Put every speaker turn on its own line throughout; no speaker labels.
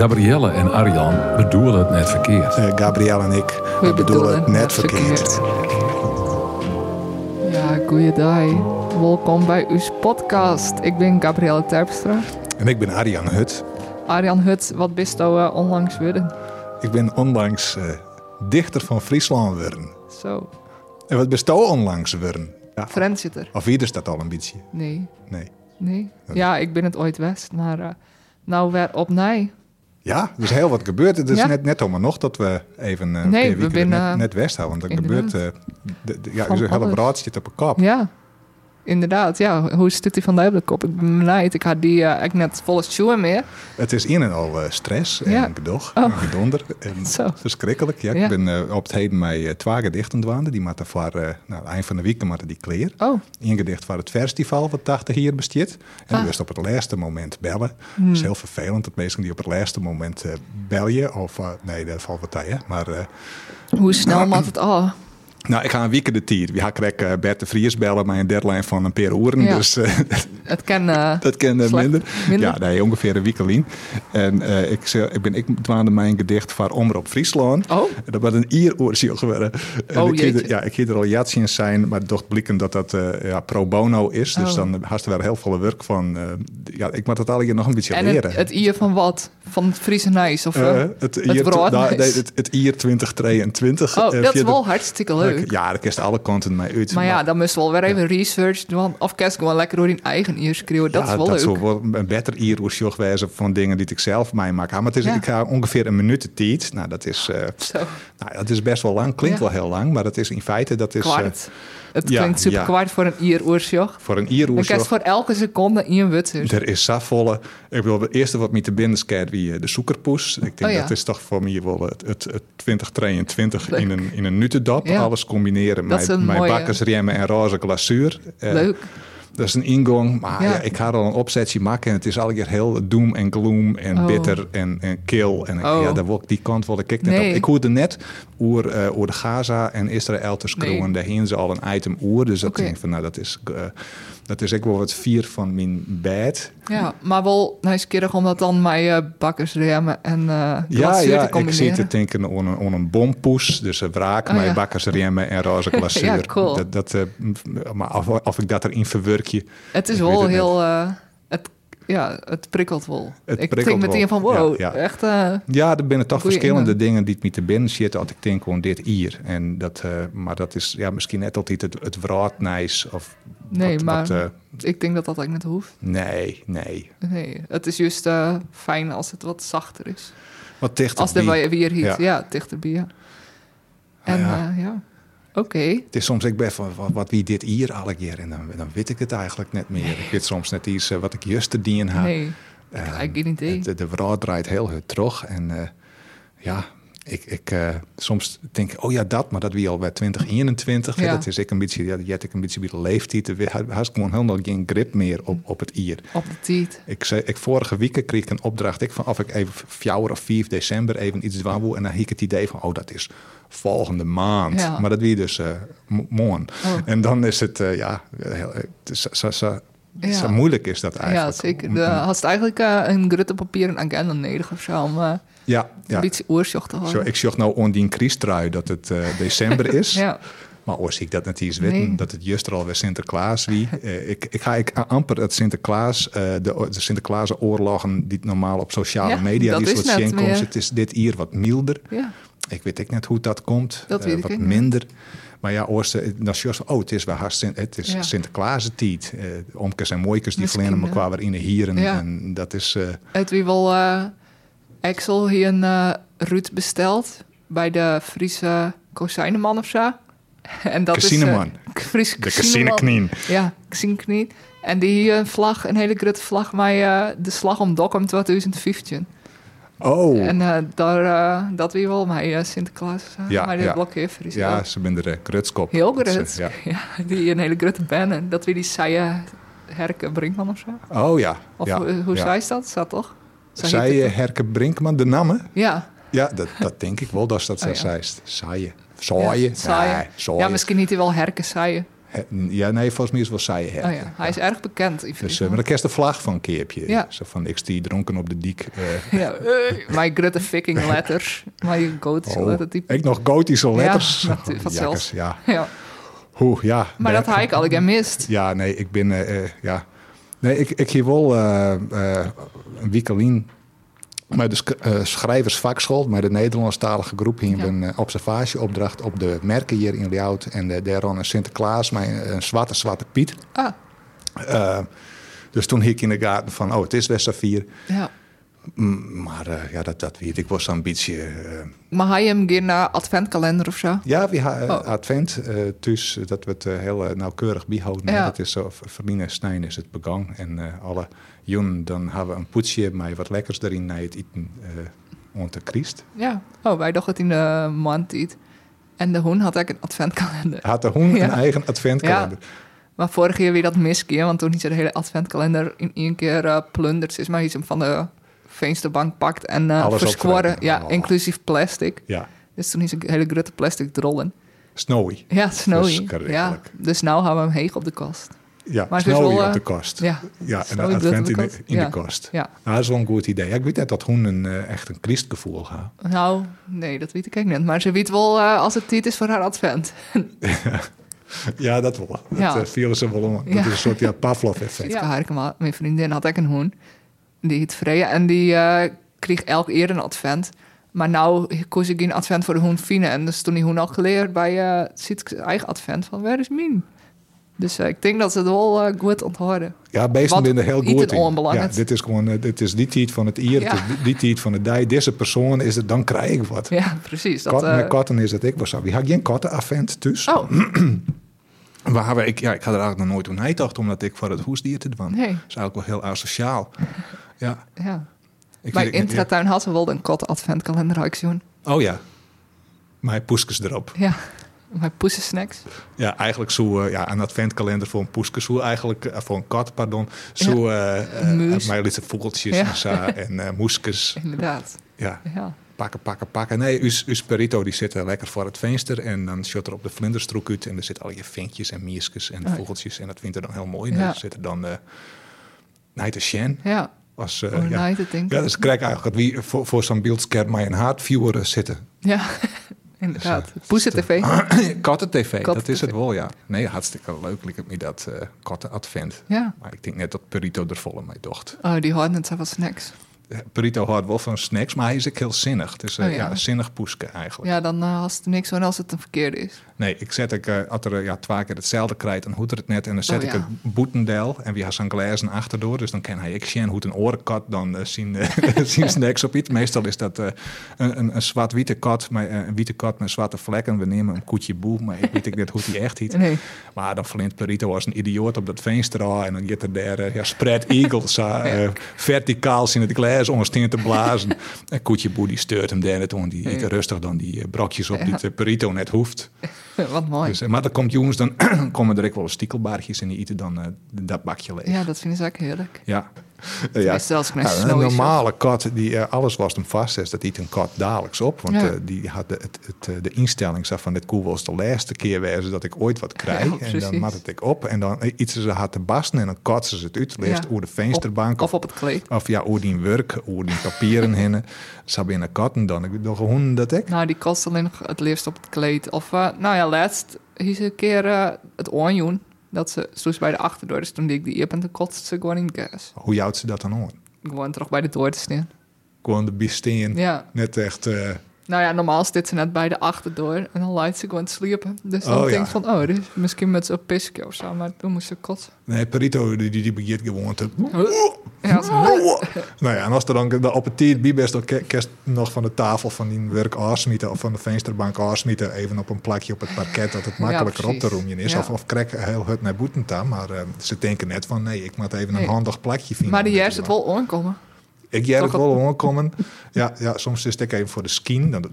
Gabrielle en Arjan bedoelen het net verkeerd.
Eh Gabrielle en ik we
We
bedoelen, het net verkeerd.
Ja, goeiedag. Welkom bij uw podcast. Ik ben Gabrielle Terpstra.
En ik ben Arjan Hut.
Arjan Hut, wat bist jou eh, onlangs worden?
Ik ben onlangs eh, dichter van Friesland worden.
Zo,
En wat bestel onlangs worden? Ja.
Frans zit er.
Of wie is dat al een beetje?
Nee,
Nee.
nee. Ja, ik ben het ooit west, maar eh, nou weer op nee.
Ja, er is heel wat gebeurd. Het is
Ja.
net, net om nog dat we even eh, een
Nee,
paar
we
weken
zijn,
net,
eh,
net west houden. Want er
inderdaad.
gebeurt... eh, de, de- ja,
Van
onze hele
alles.
braad zit op een kop.
Ja, inderdaad. Ja, hoe zit die van de hele kop? Ik ben benijd. Ik had die eh, ik net volle schoen meer.
Het is in en al eh, stress en
Ja.
gedoog en
Oh.
gedonder. En
Zo.
verschrikkelijk. Ja,
Ja.
Ik ben eh, op het heden mij eh, twee gedichten dwaande. Die moeten voor, eh, nou, eind van de week moeten die kleer.
Oh,
ingedicht voor het festival wat 80 hier bestiert. En
Ah. Hmm.
dus op het laatste moment bellen. Dat is heel vervelend dat mensen die op het laatste moment eh bel je. Of eh, nee, dat valt wat tegen. Maar eh,
hoe snel maakt het al?
nou, ik ga een week in de tier. We gaan krek eh, Bert de Vries bellen, maar een deadline van een paar uren.
Ja.
Dus eh,
Het kan... eh,
dat kan eh,
Slecht.
minder.
Minder?
Ja, nee, ongeveer een week alleen. En eh, ik, zei- ik ben ik dwaande mijn gedicht voor Omroep Friesland.
Oh,
En dat was een ieroorziel geworden. En
Oh,
ik hield-
jeetje.
ja, ik hield er al jaartjes in zijn, maar toch blikken dat dat eh, ja, pro bono is. Dus
Oh.
dan had er wel heel veel werk van. eh, ja, ik moet dat al hier nog een beetje
en
leren.
het, het ier van wat? Van het Friese Nijs? Of, eh?
Eh, het,
het
hier,
brood
nou,
is-
nee, het, het hier 2023.
oh,
eh,
dat is
via de-
wel hartstikke leuk.
Ja, daar kist alle kanten mee uit.
Maar ja, dan moesten we wel weer even research doen. Of kerst gewoon lekker door in eigen eer schreeuwen. Dat
ja,
is wel
dat
leuk.
zou wel een beter hier wijzen van dingen die ik zelf meemaak. Ah, Maar het is,
Ja.
ik ga ongeveer een minuut de tijd. Nou, dat is, eh,
Zo,
nou, dat is best wel lang. Klinkt
Ja.
wel heel lang, maar dat is in feite... Dat is, eh,
kwart. het
ja,
klinkt super
ja.
kwart voor een ier oersjoch.
voor een hier
Dan kerst voor elke seconde in een wutser.
Er is safvolle. Ik wil het eerste wat me te binnen schiet, wie eh, de zoekerpoes. Ik denk
Oh ja.
dat is toch voor mij wel het, het, het 2023 in een, in een nutendop.
Ja.
Alles combineren
Dat
met,
is een
met
mooie-
bakkersremmen en roze glazuur. Eh,
Leuk.
Dat is een ingang. Maar ja.
Ja.
ik ga er al een opzetje maken. En het is al keer heel doom en gloom en
Oh.
bitter en, en kil. En ik-
Oh.
ja, daar wil ik die kant wel de kik net
Nee.
op. Ik hoorde net over, eh over de Gaza en Israël te screwen.
Nee.
Daar hingen ze al een item oer. Dus dat
Oké.
denk ik van, nou, dat is, eh, dat is ik wel wat vier van mijn bed.
Ja, maar wel nieuwsgierig om dat dan met eh bakkersremmen en eh
Ja,
glazuur te
ja ik
combineren.
zit te denken aan een, aan een bompoes. Dus een wraak,
Oh,
mijn
ja.
bakkersremmen en roze glazuur.
Ja, cool.
dat, dat, eh, maar of, of ik dat erin verwerk je.
Het is
Ik weet
wel
het
heel... eh, het, ja, het prikkelt wel.
Het
ik
prikkelt
denk meteen
wel.
van wow,
Ja, ja.
echt... eh,
Ja, er binnen toch
Goeie
verschillende
ingang.
dingen die het me te binnen zitten. Als ik denk aan dit hier. En dat, eh, maar dat is ja, misschien net altijd het, het wraadnijs. Of
Nee,
wat-
maar-
wat, eh,
ik denk dat dat eigenlijk net hoeft.
nee, nee.
Nee, het is juist eh, fijn als het wat zachter is.
Wat dichter
Als de
bij.
wa- weer hiet,
Ja. Ah,
ja, dichterbij. ja. En
Ja.
ja, ja. oké.
Het is soms, ik ben van wat, wat wie dit hier alle keer. En dan, dan weet ik het eigenlijk net meer. Ik weet soms net iets eh, wat ik juist te dien heb.
Nee,
Ehm,
ik heb geen idee.
het- de, de verhaal draait heel hard terug. En eh, ja, ik, ik eh, soms denk ik, oh ja, dat, maar dat wie al bij 2021. hè,
Ja.
Dat is ik een beetje, ja, jet ik een beetje bij de leeftijd. Er had- had ik gewoon helemaal geen grip meer op, op het ier.
op de tijd.
Ik zei, ik vorige week kreeg ik een opdracht. Ik van of ik even 4 of 5 december even iets dwaan wil. En dan had ik het idee van, oh, dat is volgende maand.
Ja.
Maar dat wie dus eh, m- morgen.
Oh.
En dan is het, eh, ja, heel, het is zo, zo, zo-
Ja.
zo moeilijk is dat
Ja,
eigenlijk.
zeker.
Om-
De,
om-
had het eigenlijk eh, een grutte papier en agenda nodig of zo, om eh,
ja,
een
ja.
beetje oorzocht te
Zo,
houden.
ik zocht nou on die kriestrui dat het eh, december is.
ja,
Maar oor zie ik dat net eens weten,
Nee.
dat het juist er alweer Sinterklaas wie. Eh, ik, ik ga ik amper dat Sinterklaas, eh, de, de Sinterklaas oorlogen die normaal op sociale
Ja,
media
dat
die
is
soort
net
zien komt.
meer.
Het is dit hier wat milder.
ja.
Ik weet ik net hoe dat komt.
Dat
eh,
weet ik
wat
ook niet.
minder. Maar ja, oors, eh, dan zie je van, oh, het is wel hard, Sint- het is
Ja.
Sinterklaas tiet. Eh, omkes en mooikers die
Misschien,
verlenen
ja.
elkaar weer in de hier. En,
Ja.
en dat is, eh,
Het wie wel eh, Axel hier een eh Ruud besteld bij de Friese kozijnenman of zo. En dat
Casineman.
is eh, Friese
de
casineman.
casino
Ja, Casineknien. En die hier een vlag, een hele grote vlag, maar eh, de slag om Dokkum 2015.
Oh,
En eh, daar, eh, dat wie wel, maar eh, Sinterklaas, eh,
Ja,
maar dit
ja.
blokkeervries.
ja, ze zijn de grutskop.
Heel
Dat ze-
groot.
ja.
Ja. die een hele grote banner. Dat wie die saaie Herke Brinkman of zo.
Oh ja.
Of
ja,
hoe, eh, hoe
ja.
zei ze dat? Zat toch? Zo
Zij
heet het.
eh, Herke Brinkman, de namen?
Ja.
Ja, dat, dat denk ik wel, dat is dat zij
Oh, ja.
zei. Saaien. Saaien.
saaien.
Nee, saaien.
ja, misschien niet die wel Herke saaie.
Ja, nee, volgens mij is het wel zij. hè.
Oh ja, hij is erg bekend
Dus,
in
eh,
Friesland.
maar dan kerst de vlag van een keerpje.
Ja.
Zo van, ik stie dronken op de diek. eh,
Ja, eh, my grutte fucking letters. My goat
oh,
letter type.
ik nog gotische letters.
Ja, natuurlijk, wat
Jakkers,
zelfs.
ja.
Ja,
Hoe, ja.
maar dat had ik al gemist.
Ja, nee, ik ben... eh, eh, ja. Nee, ik, ik hier wel eh, eh, een wiekelien... Maar de sk- eh, schrijversvakschool, maar de Nederlandstalige groep, hier
Ja.
een eh, observatieopdracht op de merken hier in Liout. En eh, daar aan een Sinterklaas, maar een, een zwarte, zwarte Piet.
Ah,
Eh, dus toen hik ik in de gaten van, oh, het is Westervier.
ja.
Mm, maar eh, ja, dat, dat weet ik was een beetje... eh,
Maar hij hem geen eh, adventkalender of zo?
ja, we ha-
Oh.
Advent, eh dus dat we het eh, heel eh, nauwkeurig bijhouden.
Ja.
Dat is zo, Vermine Stijn is het begang. En eh, alle jun, dan hebben we een poetsje met wat lekkers erin naar het eten eh om te Christ.
Ja. Oh, wij dachten het in de maand iets. En de hoen had ik een adventkalender.
Had de hoen een
Ja.
eigen adventkalender.
Maar vorige keer weer dat miskeer, want toen is er de hele adventkalender in één keer eh, plunderd. Is maar iets hem van de vensterbank pakt en eh
Alles
verskorren.
opgeruimd.
Ja,
Oh.
inclusief plastic.
Ja.
Dus toen is een hele grote plastic rollen.
Snowy.
Ja, snowy. Ja,
Verschrikkelijk.
dus nou houden we hem heeg op de kast.
Ja,
Maar het is
snowy
wel, eh,
op de kost.
ja,
en
snowy
een advent in
op de
de,
kost.
in
Ja.
de kost.
Ja.
Nou, dat is wel een goed idee. Ja, ik weet net dat hoen een, eh, echt een Christgevoel gaat.
Nou, nee, dat weet ik eigenlijk net. Maar ze weet wel eh, als het tijd is voor haar advent.
Ja, dat wel. Dat
Ja.
eh, vielen ze wel om.
Ja.
Dat is een soort ja, Pavlov-effect.
Ja. Haar, maar mijn vriendin had ik een hoen. Die heet Freya. En die eh, kreeg elk eer een advent. Maar nou koos ik geen advent voor de hoen Fine. En dus toen die hoen al geleerd bij eh Sietke's eigen advent van waar is Mien? Dus eh, ik denk dat ze het wel eh, goed onthouden.
Ja, beesten
Wat
zijn er heel
iets
goed in. Ja,
onbelangrijk.
dit is gewoon, eh, dit is die tijd van het ier,
Ja.
het is die- die tijd van het dij. Deze persoon is het, dan krijg ik wat.
Ja, precies. Dat,
Kat-
eh,
met katten is dat ik was. Wie had geen kattenavent thuis?
Oh,
Waar we, ik, ja, ik had er eigenlijk nog nooit om nagedacht, omdat ik voor het hoesdier te dwan.
Nee.
Dat is eigenlijk wel heel asociaal. ja,
ja.
ik
Mijn
weet het niet, ja.
intratuin had ze wel een kot adventkalender, had ik zoen.
Oh ja, mijn poeskes erop.
Ja, mijn poesensnacks.
Ja, eigenlijk zo eh, ja, een adventkalender voor een poeskes. Hoe eigenlijk, eh, voor een kat, pardon. Zo, eh eh,
muus.
mijn lieve vogeltjes
Ja.
en zo. En eh moeskes.
Inderdaad,
Ja.
ja.
pakken, pakken, pakken. Nee, uw, uw perito die zit er lekker voor het venster en dan shot er op de vlinderstroek uit en er zitten al je vinkjes en mierskes en
ja.
vogeltjes en dat vindt er dan heel mooi.
Ja.
En dan zit er dan eh Night of Shen
Ja,
als eh,
hoe
ja.
night het denk
Ja,
ik.
dus ik krijg eigenlijk dat wie voor, voor zo'n beeldscherm maar een haardviewer eh, zitten. Dus, eh,
Ja, inderdaad. Poesen TV.
Katten TV, dat is
Katten-tv.
het wel, ja. Nee, hartstikke leuk. Ik heb niet dat eh katten advent.
Ja.
Maar ik denk net dat Perito er volle mee docht.
Oh, die hoorden het zijn wat snacks.
Eh, Perito houdt wel van snacks, maar hij is ook heel zinnig. Het is eh,
Oh, ja.
ja. een zinnig poeske eigenlijk.
Ja, dan eh, als het niks van als het een verkeerde is.
Nee, ik zet ik, eh, als er eh, ja, twee keer hetzelfde krijgt, dan hoet er het net. En dan zet
Oh,
ik
ja.
het boetendel en wie had zijn glazen achterdoor. Dus dan kan hij, ik zie hoe een orenkat, dan eh, zien, eh, zien ze niks op iets. Meestal is dat eh, een, een, een zwart-witte kat, maar, eh, een witte kat met zwarte vlekken. We nemen een koetje boe, maar ik weet ik net hoe die echt heet.
Nee.
Maar dan flint Perito als een idioot op dat venster en dan gaat er daar eh, ja, spread eagles eh, eh, verticaal in het glas om steen te blazen. en koetje boe die steurt hem daar net om, die eet
Ja.
rustig dan die eh, brokjes op
Ja.
die eh, Perito net hoeft.
wat mooi.
Dus, eh, maar dan komt jongens, dan komen er ook wel eens stiekelbaartjes en die eten dan eh, dat bakje leeg.
Ja, dat vinden ze ook heerlijk.
Ja.
Tenminste, zelfs met
Ja, Nou, een
snowy
normale kat die eh, alles was hem vast is, dat eet een kat dadelijks op. Want
Ja.
eh, die had de, het, het, eh, de instelling zo van dit koe was de laatste keer wezen dat ik ooit wat krijg.
Ja,
en dan
precies.
mat het ik op en dan eh, iets ze had te basten en dan kat ze het uit. Leest
Ja.
over de vensterbank
Of, of op het kleed.
of ja, over die werk, over die papieren hinnen. Sabine katten dan, ik dacht honden dat ik.
Nou, die kost alleen nog het liefst op het kleed. Of, eh, nou ja, laatst is een keer eh, het oorjoen. Dat ze zoals bij de achterdeur. Dus toen deed ik die op en toen kotste ze gewoon in het gas.
Hoe jouwt ze dat dan aan?
Gewoon terug bij de deur te staan.
Gewoon de bisteen.
Ja.
Net echt... eh,
Nou ja, normaal zit ze net bij de achterdeur. En dan laat ze gewoon te sliepen. Dus dan
Oh, ja.
denk ik van, oh, dit is misschien met zo'n pisje of zo. Maar toen moest ze kotsen.
Nee, Perito die, die, die begint gewoon te...
Ja, zo.
nou ja, en als er dan de- op het tijd best wel ke- kerst nog van de tafel van die werk afsmieten... of van de vensterbank afsmieten, even op een plakje op het parket... dat het makkelijker op te
precies.
roemen is.
Ja.
Of, of krek heel hut naar boeten tam. Maar eh, ze denken net van, nee, ik moet even een
Nee.
handig plakje vinden.
Maar die
om dit
juist
te
het
doen.
wel aankomen.
Ik jij het
toch
wel aankomen. ja, ja, soms is het ook even voor de skin. Dan,
Oh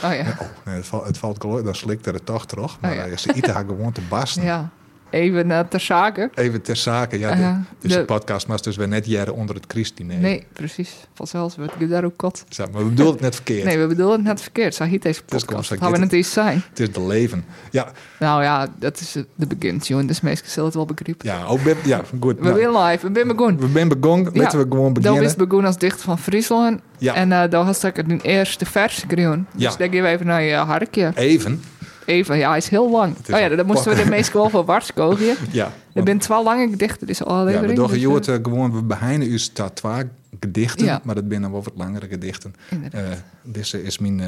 ja.
oh, nee, het, valt, het valt geluid, dan slikt er het toch terug. Maar
ja.
eh, ze eten haar gewoon te basten.
Ja. even eh, ter zake.
Even ter zake, ja. de-
Ja,
dus de,
de-
podcast was dus weer net jaren onder het christdiner.
Nee, precies. Pas wel, we hebben daar ook kot.
Zo, Maar we bedoelden het net verkeerd.
Nee, we bedoelen het net verkeerd. Zo heet deze
Dus kom,
podcast.
zo
Gaan we
dit-
het eens zijn?
Het is de leven. Ja,
Nou ja, dat is eh, de begintune. Dus meestal zullen het wel begrijpen.
ja, ook ben, ja goed. Nou,
We zijn live, we zijn begonnen.
we zijn begonnen. Laten we gewoon
Dat is
beginnen.
begonnen als dichter van Friesland.
Ja.
En eh daar had ik het een eerste vers groen. Dus
Ja.
daar gaan we even naar je harkje.
Even.
Even, ja, hij is heel lang.
is
Oh ja,
een
dan moesten we de meest wel van warskogen.
Ja.
Er zijn twaalf lange gedichten, dus alle
Ja, we dachten,
dus,
je hoort
eh,
eh, gewoon, we behinden u staat twee gedichten,
Ja.
maar dat zijn dan wel wat langere gedichten.
Inderdaad.
Eh dit is mijn, eh,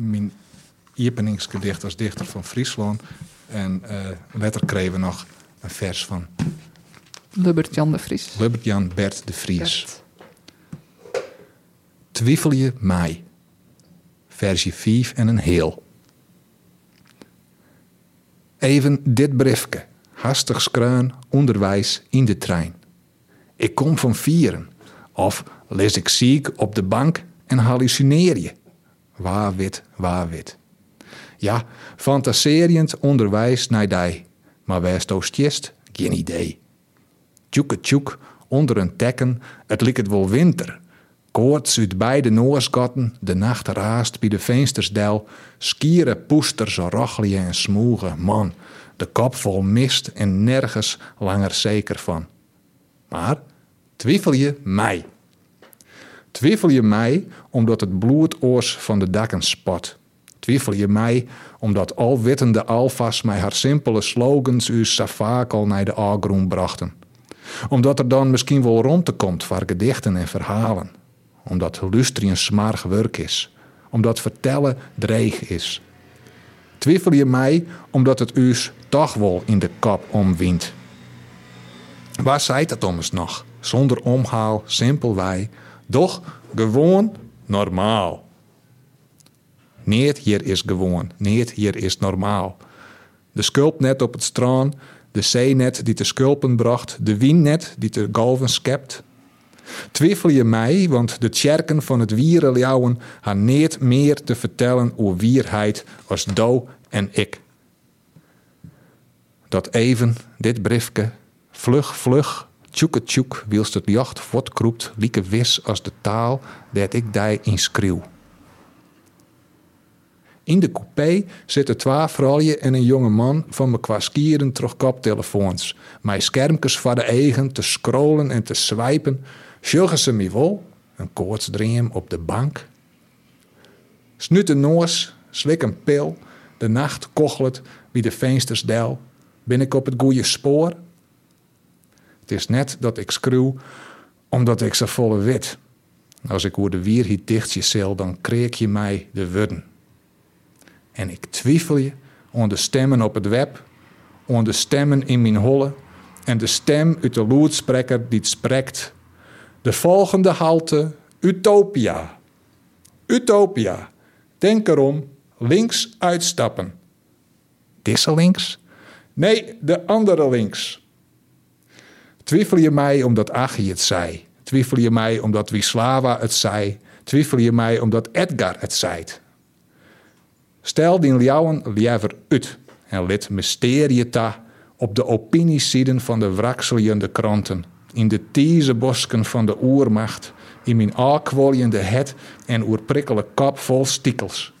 mijn openingsgedicht als dichter van Friesland. En eh later kregen we nog een vers van
Lubbert Jan de Vries.
Lubbert-Jan Bert de Vries. Twijfel je mij. Versie 5 en een heel. Even dit briefke. Hastig skruin, onderwijs in de trein. Ik kom van vieren. Of lees ik ziek op de bank en hallucineer je. Waar wit, waar wit. Ja, fantaserend onderwijs naar die. Maar waar stoostjest, geen idee. Tjoeke tjoek, onder een tekken, het liek het wel winter. Koorts uit beide noorskotten, de nacht raast bij de venstersdel. Skieren poesters rochlien en smoegen, man. De kop vol mist en nergens langer zeker van. Maar twijfel je mij? Twijfel je mij omdat het bloed oors van de dakken spot? Twijfel je mij omdat alwittende alfa's mij haar simpele slogans uw safakel naar de algroen brachten? Omdat er dan misschien wel rondte komt voor gedichten en verhalen. Omdat lustrien smarig werk is. Omdat vertellen dreig is. Twijfel je mij omdat het u's toch wel in de kop omwint. Waar zei dat om eens nog? Zonder omhaal, simpel wij. Doch gewoon normaal. Neert hier is gewoon, neert hier is normaal. De sculp net op het strand, de zee net die te sculpen bracht, de wien net die te golven schept. Twijfel je mij, want de tjerken van het wierenljouwen gaan neert meer te vertellen over wierheid als do en ik dat even dit briefke, vlug, vlug, tjoeke tjoek, wielst het jacht voortkroept, lieke wis als de taal dat ik dij in schreeuw. In de coupé zitten twee vrouwen en een jonge man van me kwaskieren terug koptelefoons. Mijn schermkes voor de eigen te scrollen en te swipen. Sjuggen ze me wel? Een koortsdream op de bank. Snuit een noos, slik een pil. De nacht kochelt wie de vensters del. Ben ik op het goede spoor? Het is net dat ik schreeuw, omdat ik ze volle wit. Als ik hoe de wier hier dichtje zil, dan kreeg je mij de wudden. En ik twijfel je aan de stemmen op het web, aan de stemmen in mijn holle en de stem uit de loedspreker die het spreekt. De volgende halte, Utopia. Utopia. Denk erom, links uitstappen. Disse links? Nee, de andere links. Twijfel je mij omdat Achi het zei? Twijfel je mij omdat Wislawa het zei? Twijfel je mij omdat Edgar het zei? Stel die Ljouwen liever uit en lid mysterie ta op de opiniesiden van de wrakseljende kranten, in de tieze bosken van de oermacht, in mijn aalkwoljende het en oerprikkele kap vol stikkels.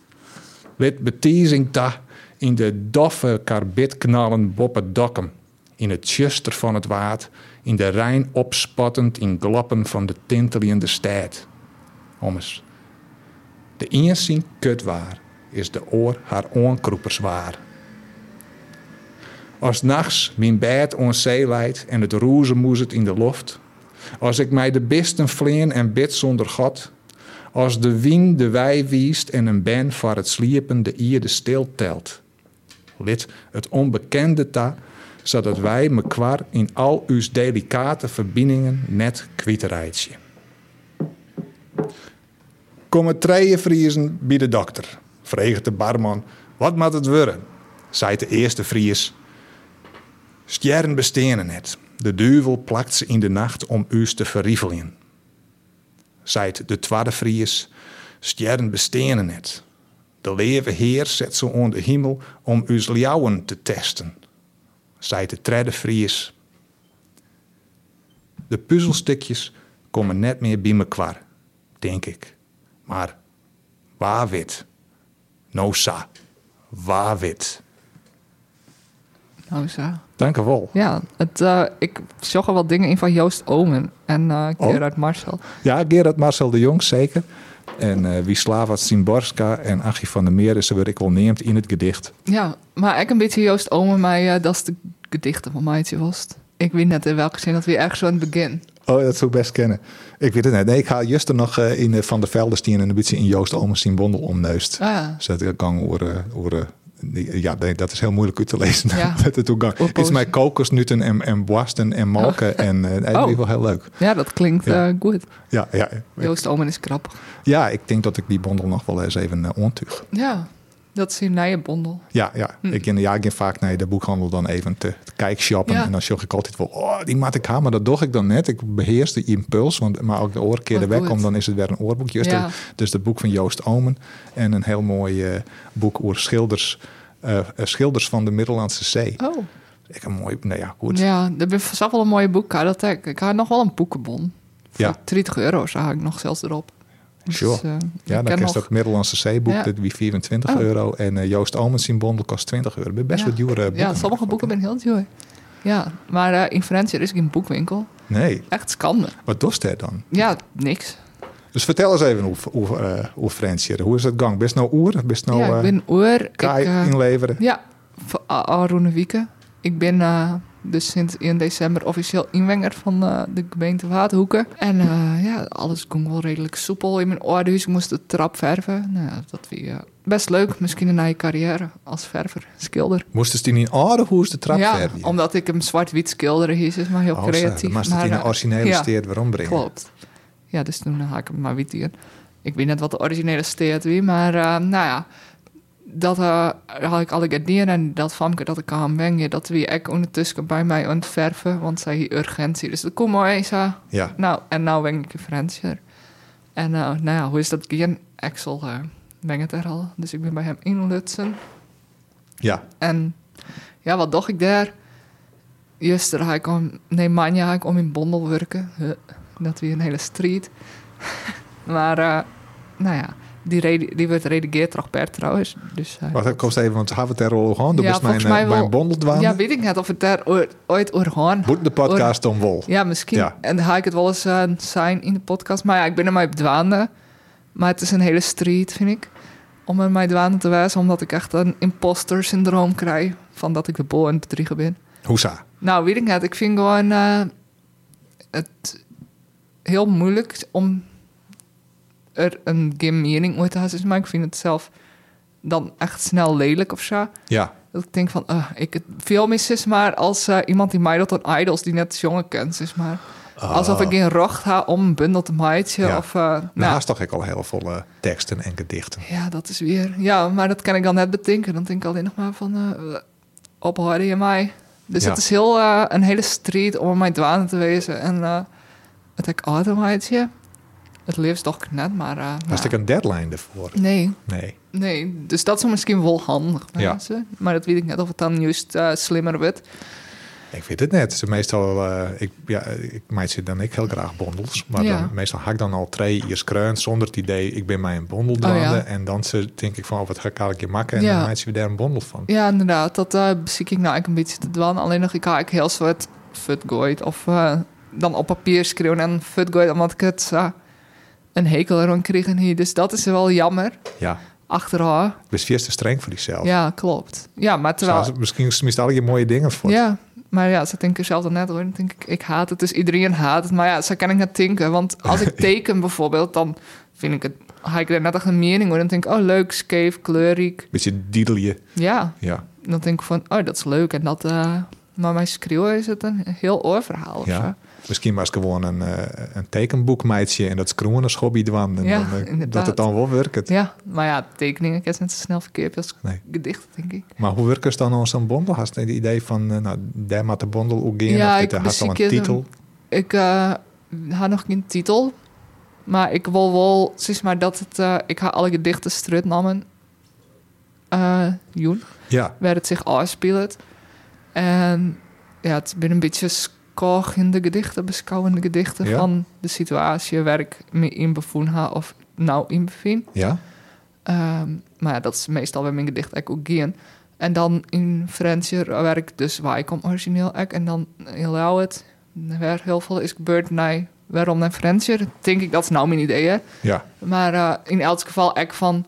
Lid betiezing ta in de doffe karbitknallen boppen dokken, in het tjuster van het waard, in de Rijn opspattend in glappen van de tintelende stad. Ommers. De inzien kut waar, is de oor haar oorkroepers waar. Als nachts mijn bed on zee leidt en het roezen moezet in de loft. Als ik mij de bisten vleen en bid zonder God. Als de wien de wei wiest en een ben voor het sliepen de ierde stil telt. Lid het onbekende ta, zodat wij me kwar in al uw delicate verbindingen net kwitterijtje. Komen treien vriezen bij de dokter, vreeg de barman. Wat moet het worden? zei de eerste Fries. Stjerren bestenen net. De duivel plakt ze in de nacht om u te verrievelen. Zei de tweede Fries. Stjerren bestenen net. De leeuwe heer zet ze onder hemel om uw leeuwen te testen. zij te treden vries. De puzzelstukjes komen net meer bij mekaar, denk ik. Maar waar wit? Nosa, waar wit?
Nou, zo.
Dank u wel.
Ja, het, eh, ik zag al wat dingen in van Joost Omen en eh
Oh.
Gerard Marcel.
Ja, Gerard Marcel de Jong, zeker. En eh Wisława Szymborska en Achie van der Meer is er weer ik wel neemt in het gedicht.
Ja, maar ik een beetje Joost Omen, maar eh, dat is de gedichten van Maatje was. het. Ik weet net in welke zin dat weer ergens zo aan het begin.
Oh, dat zou ik best kennen. Ik weet het net. Nee, ik ga juster nog eh, in eh, Van der Veldestien en een beetje in Joost Omens zien Bondel omneust.
Ah, ja.
Zet ik gang over... over eh, ja, nee, dat is heel moeilijk uit te lezen.
Ja. Oh.
Met de toegang.
Oorpozen.
Het is mij kokosnuten en, en boasten en malken. En eh dat is wel heel leuk.
ja, dat klinkt
Ja.
eh, goed.
Ja, ja, ik,
Joost Omen is grappig.
ja, ik denk dat ik die bondel nog wel eens even eh, ontuig.
Ja, dat is een bondel.
Ja, ja.
Hm.
Ik, in, ja, ik ging vaak naar de boekhandel dan even te, te kijken, shoppen.
Ja.
En dan zag ik altijd wel, oh, die maat ik aan. Maar dat doe ik dan net. Ik beheers de impuls. Want, maar ook de oorkeer
Wat
er weg
Oh, goed.
komt, dan is het weer een oorboek. Juist
Ja.
de- dus het boek van Joost Omen. En een heel mooi eh, boek over schilders, eh, eh, schilders van de Middellandse Zee.
Oh,
Ik een mooi, nou ja, goed.
ja, er ben vast wel een mooie boek. ja, Dat ik. ik had nog wel een boekenbon. Voor
Ja.
30 euro had ik nog zelfs erop. Dus,
Sure.
eh,
Ja,
ik
dan
ken
krijg je
nog-
dat Middellandse Zeeboek,
Ja.
dat wie 24
Oh.
euro. En eh, Joost Omens in bondel kost 20 euro. Dat is Best eh,
Ja.
wat dure boeken.
Ja, sommige boeken ben ik heel duur. Ja, maar eh, in Francia is geen boekwinkel.
Nee,
Echt schande.
wat doet hij dan?
Ja, niks.
Dus vertel eens even hoe, hoe, eh, hoe Frans hier. Hoe is het gang? Bist nou oer? Bist nou
ja, ik
eh,
ben oer. Ik,
kaai
eh,
inleveren?
ja, voor a- al roene wieken. Ik ben eh, dus sinds 1 december officieel inwenger van eh, de gemeente Waterhoeken. En eh, ja, alles ging wel redelijk soepel in mijn orde. Dus ik moest de trap verven. Nou, ja, dat weer best leuk. Misschien een nieuwe carrière als verver, schilder.
Moesten ze die in oude hoes de trap
ja,
verder?
omdat ik hem zwart-wit schilderen hier is, maar heel
Oh, zo.
creatief.
Dan moest het in
Maar,
de
eh,
originele
ja.
steert weer ombrengen.
Klopt. Ja, dus toen haak ik hem maar wit in. Ik weet net wat de originele steert wie, maar eh, nou ja. Dat eh, had ik alle gardien en dat famke dat ik aan hem wengen, dat wie ik ondertussen bij mij aan het verven, want zij hier urgentie. Dus dat kom maar eens aan.
Ja.
Nou, en nou weng ik een Fransje. En eh, nou ja, hoe is dat geen Axel eh weng het er al. Dus ik ben bij hem in Lutsen.
ja.
En ja, wat dacht ik daar? Juster ga ik om, nee, manja ga ik om in Bondel werken. Huh, Dat weer een hele street. maar, eh, nou ja, die, redi- die werd redigeerd door per trouwens. Dus, eh,
Wacht, ik kost even, want hebben we het er al gewoon. Dat
Ja,
was mijn,
volgens mij
eh, mijn
wel.
bondeldwaan.
ja, weet ik net of het daar oor- ooit oor gaan.
Boet de podcast om wol.
Ja, misschien.
Ja.
En dan ga ik het wel eens eh, zijn in de podcast. Maar ja, ik ben er mij dwaande. Maar het is een hele street, vind ik. Om er mij dwaande te wijzen, omdat ik echt een imposter syndroom krijg. Van dat ik de bol aan het bedriegen ben.
Hoesa.
Nou, weet ik net. Ik vind gewoon eh, het heel moeilijk om er een game mening uit te houden. Maar ik vind het zelf dan echt snel lelijk of zo.
Ja.
Dat ik denk van, eh, ik het veel mis is maar als eh, iemand die mij dat aan idols die net jongen kent, is maar. Alsof ik geen rocht ha om een bundel te maaitje
Ah. Ja.
of... eh, nou,
Nou, haast toch ik al heel veel eh, teksten en gedichten.
ja, dat is weer... Ja, maar dat kan ik dan net betinken. Dan denk ik alleen nog maar van... eh ophouden je mij. Dus
Ja.
het is heel, eh, een hele street om aan mijn dwanen te wezen. En eh het ik automaatje. Het liefst toch net, maar... eh,
Was ik
nou,
een deadline ervoor?
Nee,
Nee.
nee. Dus dat is misschien wel handig,
Ja.
mensen. Maar dat weet ik net of het dan juist eh, slimmer wordt.
Ik weet het net. Ze Meestal, eh ik, ja, ik meid ze dan ik heel graag bondels. Maar
Ja.
dan, meestal haak ik dan al twee eerst kruin zonder het idee, ik ben mij een bondel
Oh,
dwaande.
ja.
En dan ze, denk ik van, oh, wat ga ik eigenlijk makken? En
Ja.
dan meid ze weer daar een bondel van.
Ja, inderdaad. Dat eh zie ik nou eigenlijk een beetje te dwan. Alleen nog, ik haak heel soort futgooid. Of eh, dan op papier schreeuwen en futgooid. Omdat ik het eh, een hekel eraan kreeg en hier. Dus dat is wel jammer.
Ja.
Achterhaal.
Dus je is te streng voor jezelf.
Ja, klopt. Ja, maar terwijl...
Terwijl... misschien mist al je mooie dingen voor.
Ja, maar ja, ze denken zelf dan net hoor. Dan denk ik, ik haat het, dus iedereen haat het. Maar ja, zo kan ik net denken. Want als ik teken bijvoorbeeld, dan vind ik het... Ga ik er net echt een mening over. Dan denk ik, oh leuk, scheef, kleurrijk.
Beetje didel je.
Ja,
Ja.
dan denk ik van, oh, dat is leuk. En dat, eh, maar mijn schreeuwen is het een heel oorverhaal of
ja.
zo.
Misschien was het gewoon een, eh, een tekenboekmeidje en dat schroeven als hobby dwan. En
Ja,
dan, eh, dat
inderdaad.
het dan wel werkt.
Ja, maar ja, tekeningen kan net zo snel verkeerd als
Nee.
gedichten, denk ik.
Maar hoe werkt het dan aan zo'n bondel? Had je het idee van, eh, nou, daar moet de bondel ook gaan?
Ja,
of dit
ik
had al een
bezie-
titel?
Ik eh, had nog geen titel, maar ik wil wel, zeg maar dat het, eh, ik ga alle gedichten strutnamen, eh, Joen,
Ja.
waar het zich afspeelt. En ja, het ben een beetje skogende gedichten, beschouwende gedichten
Ja.
van de situatie waar ik me in bevoen ha of nou in bevind.
Ja?
Ehm, maar ja, dat is meestal bij mijn gedicht eigenlijk ook geen. En dan in Frensje waar ik dus waar ik kom origineel ek, en dan in het waar heel veel is gebeurd naar waarom naar Frensje. Denk ik dat is nou mijn idee hè.
Ja.
Maar eh, in elk geval ek van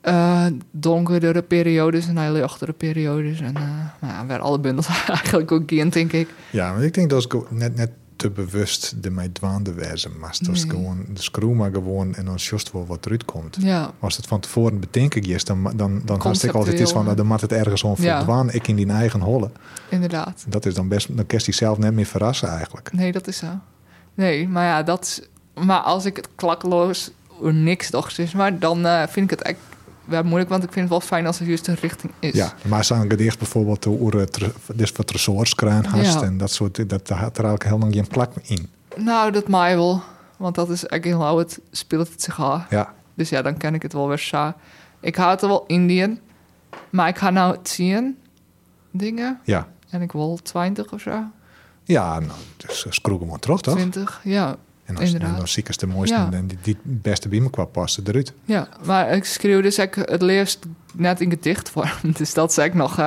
eh, donkerdere periodes en naar lichtere periodes en eh, maar ja, waar alle bundels eigenlijk ook geen denk ik.
Ja, maar ik denk dat ik net, net te bewust de mij dwaande wijzen maar Dat is
Nee.
gewoon, de screw maar gewoon en dan just wel wat eruit komt.
Ja,
Als het van tevoren bedenken is, dan, dan, dan had ik altijd
Conceptueel,
iets van,
hè?
nou, dan moet het ergens om
Ja.
verdwaan, ik in die eigen holle.
inderdaad.
Dat is dan best, dan kerst die zelf net meer verrassen eigenlijk.
Nee, dat is zo. Nee, maar ja, dat is... Maar als ik het klakloos of niks dochter is, maar dan eh, vind ik het echt wel moeilijk, want ik vind het wel fijn als het juist de richting is.
Ja, maar zo'n gedicht bijvoorbeeld over het dus wat resourcekruin hast
Ja.
en dat soort, dat daar had er eigenlijk helemaal geen plak in.
Nou, dat mij wel, want dat is echt heel het speelt het zich af.
Ja,
Dus ja, dan ken ik het wel weer sa. Ik haat er wel Indiën, maar ik ga nou het zien dingen
ja.
en ik wil 20 of zo,
Ja, nou, dus screw gewoon terug, toch?
20, ja.
En als,
inderdaad.
en dan zie ik eens de mooiste
Ja.
en die, die het beste bij me qua passen eruit.
Ja, maar ik schreeuw dus ik het leerst net in gedichtvorm. Dus dat is eigenlijk nog eh,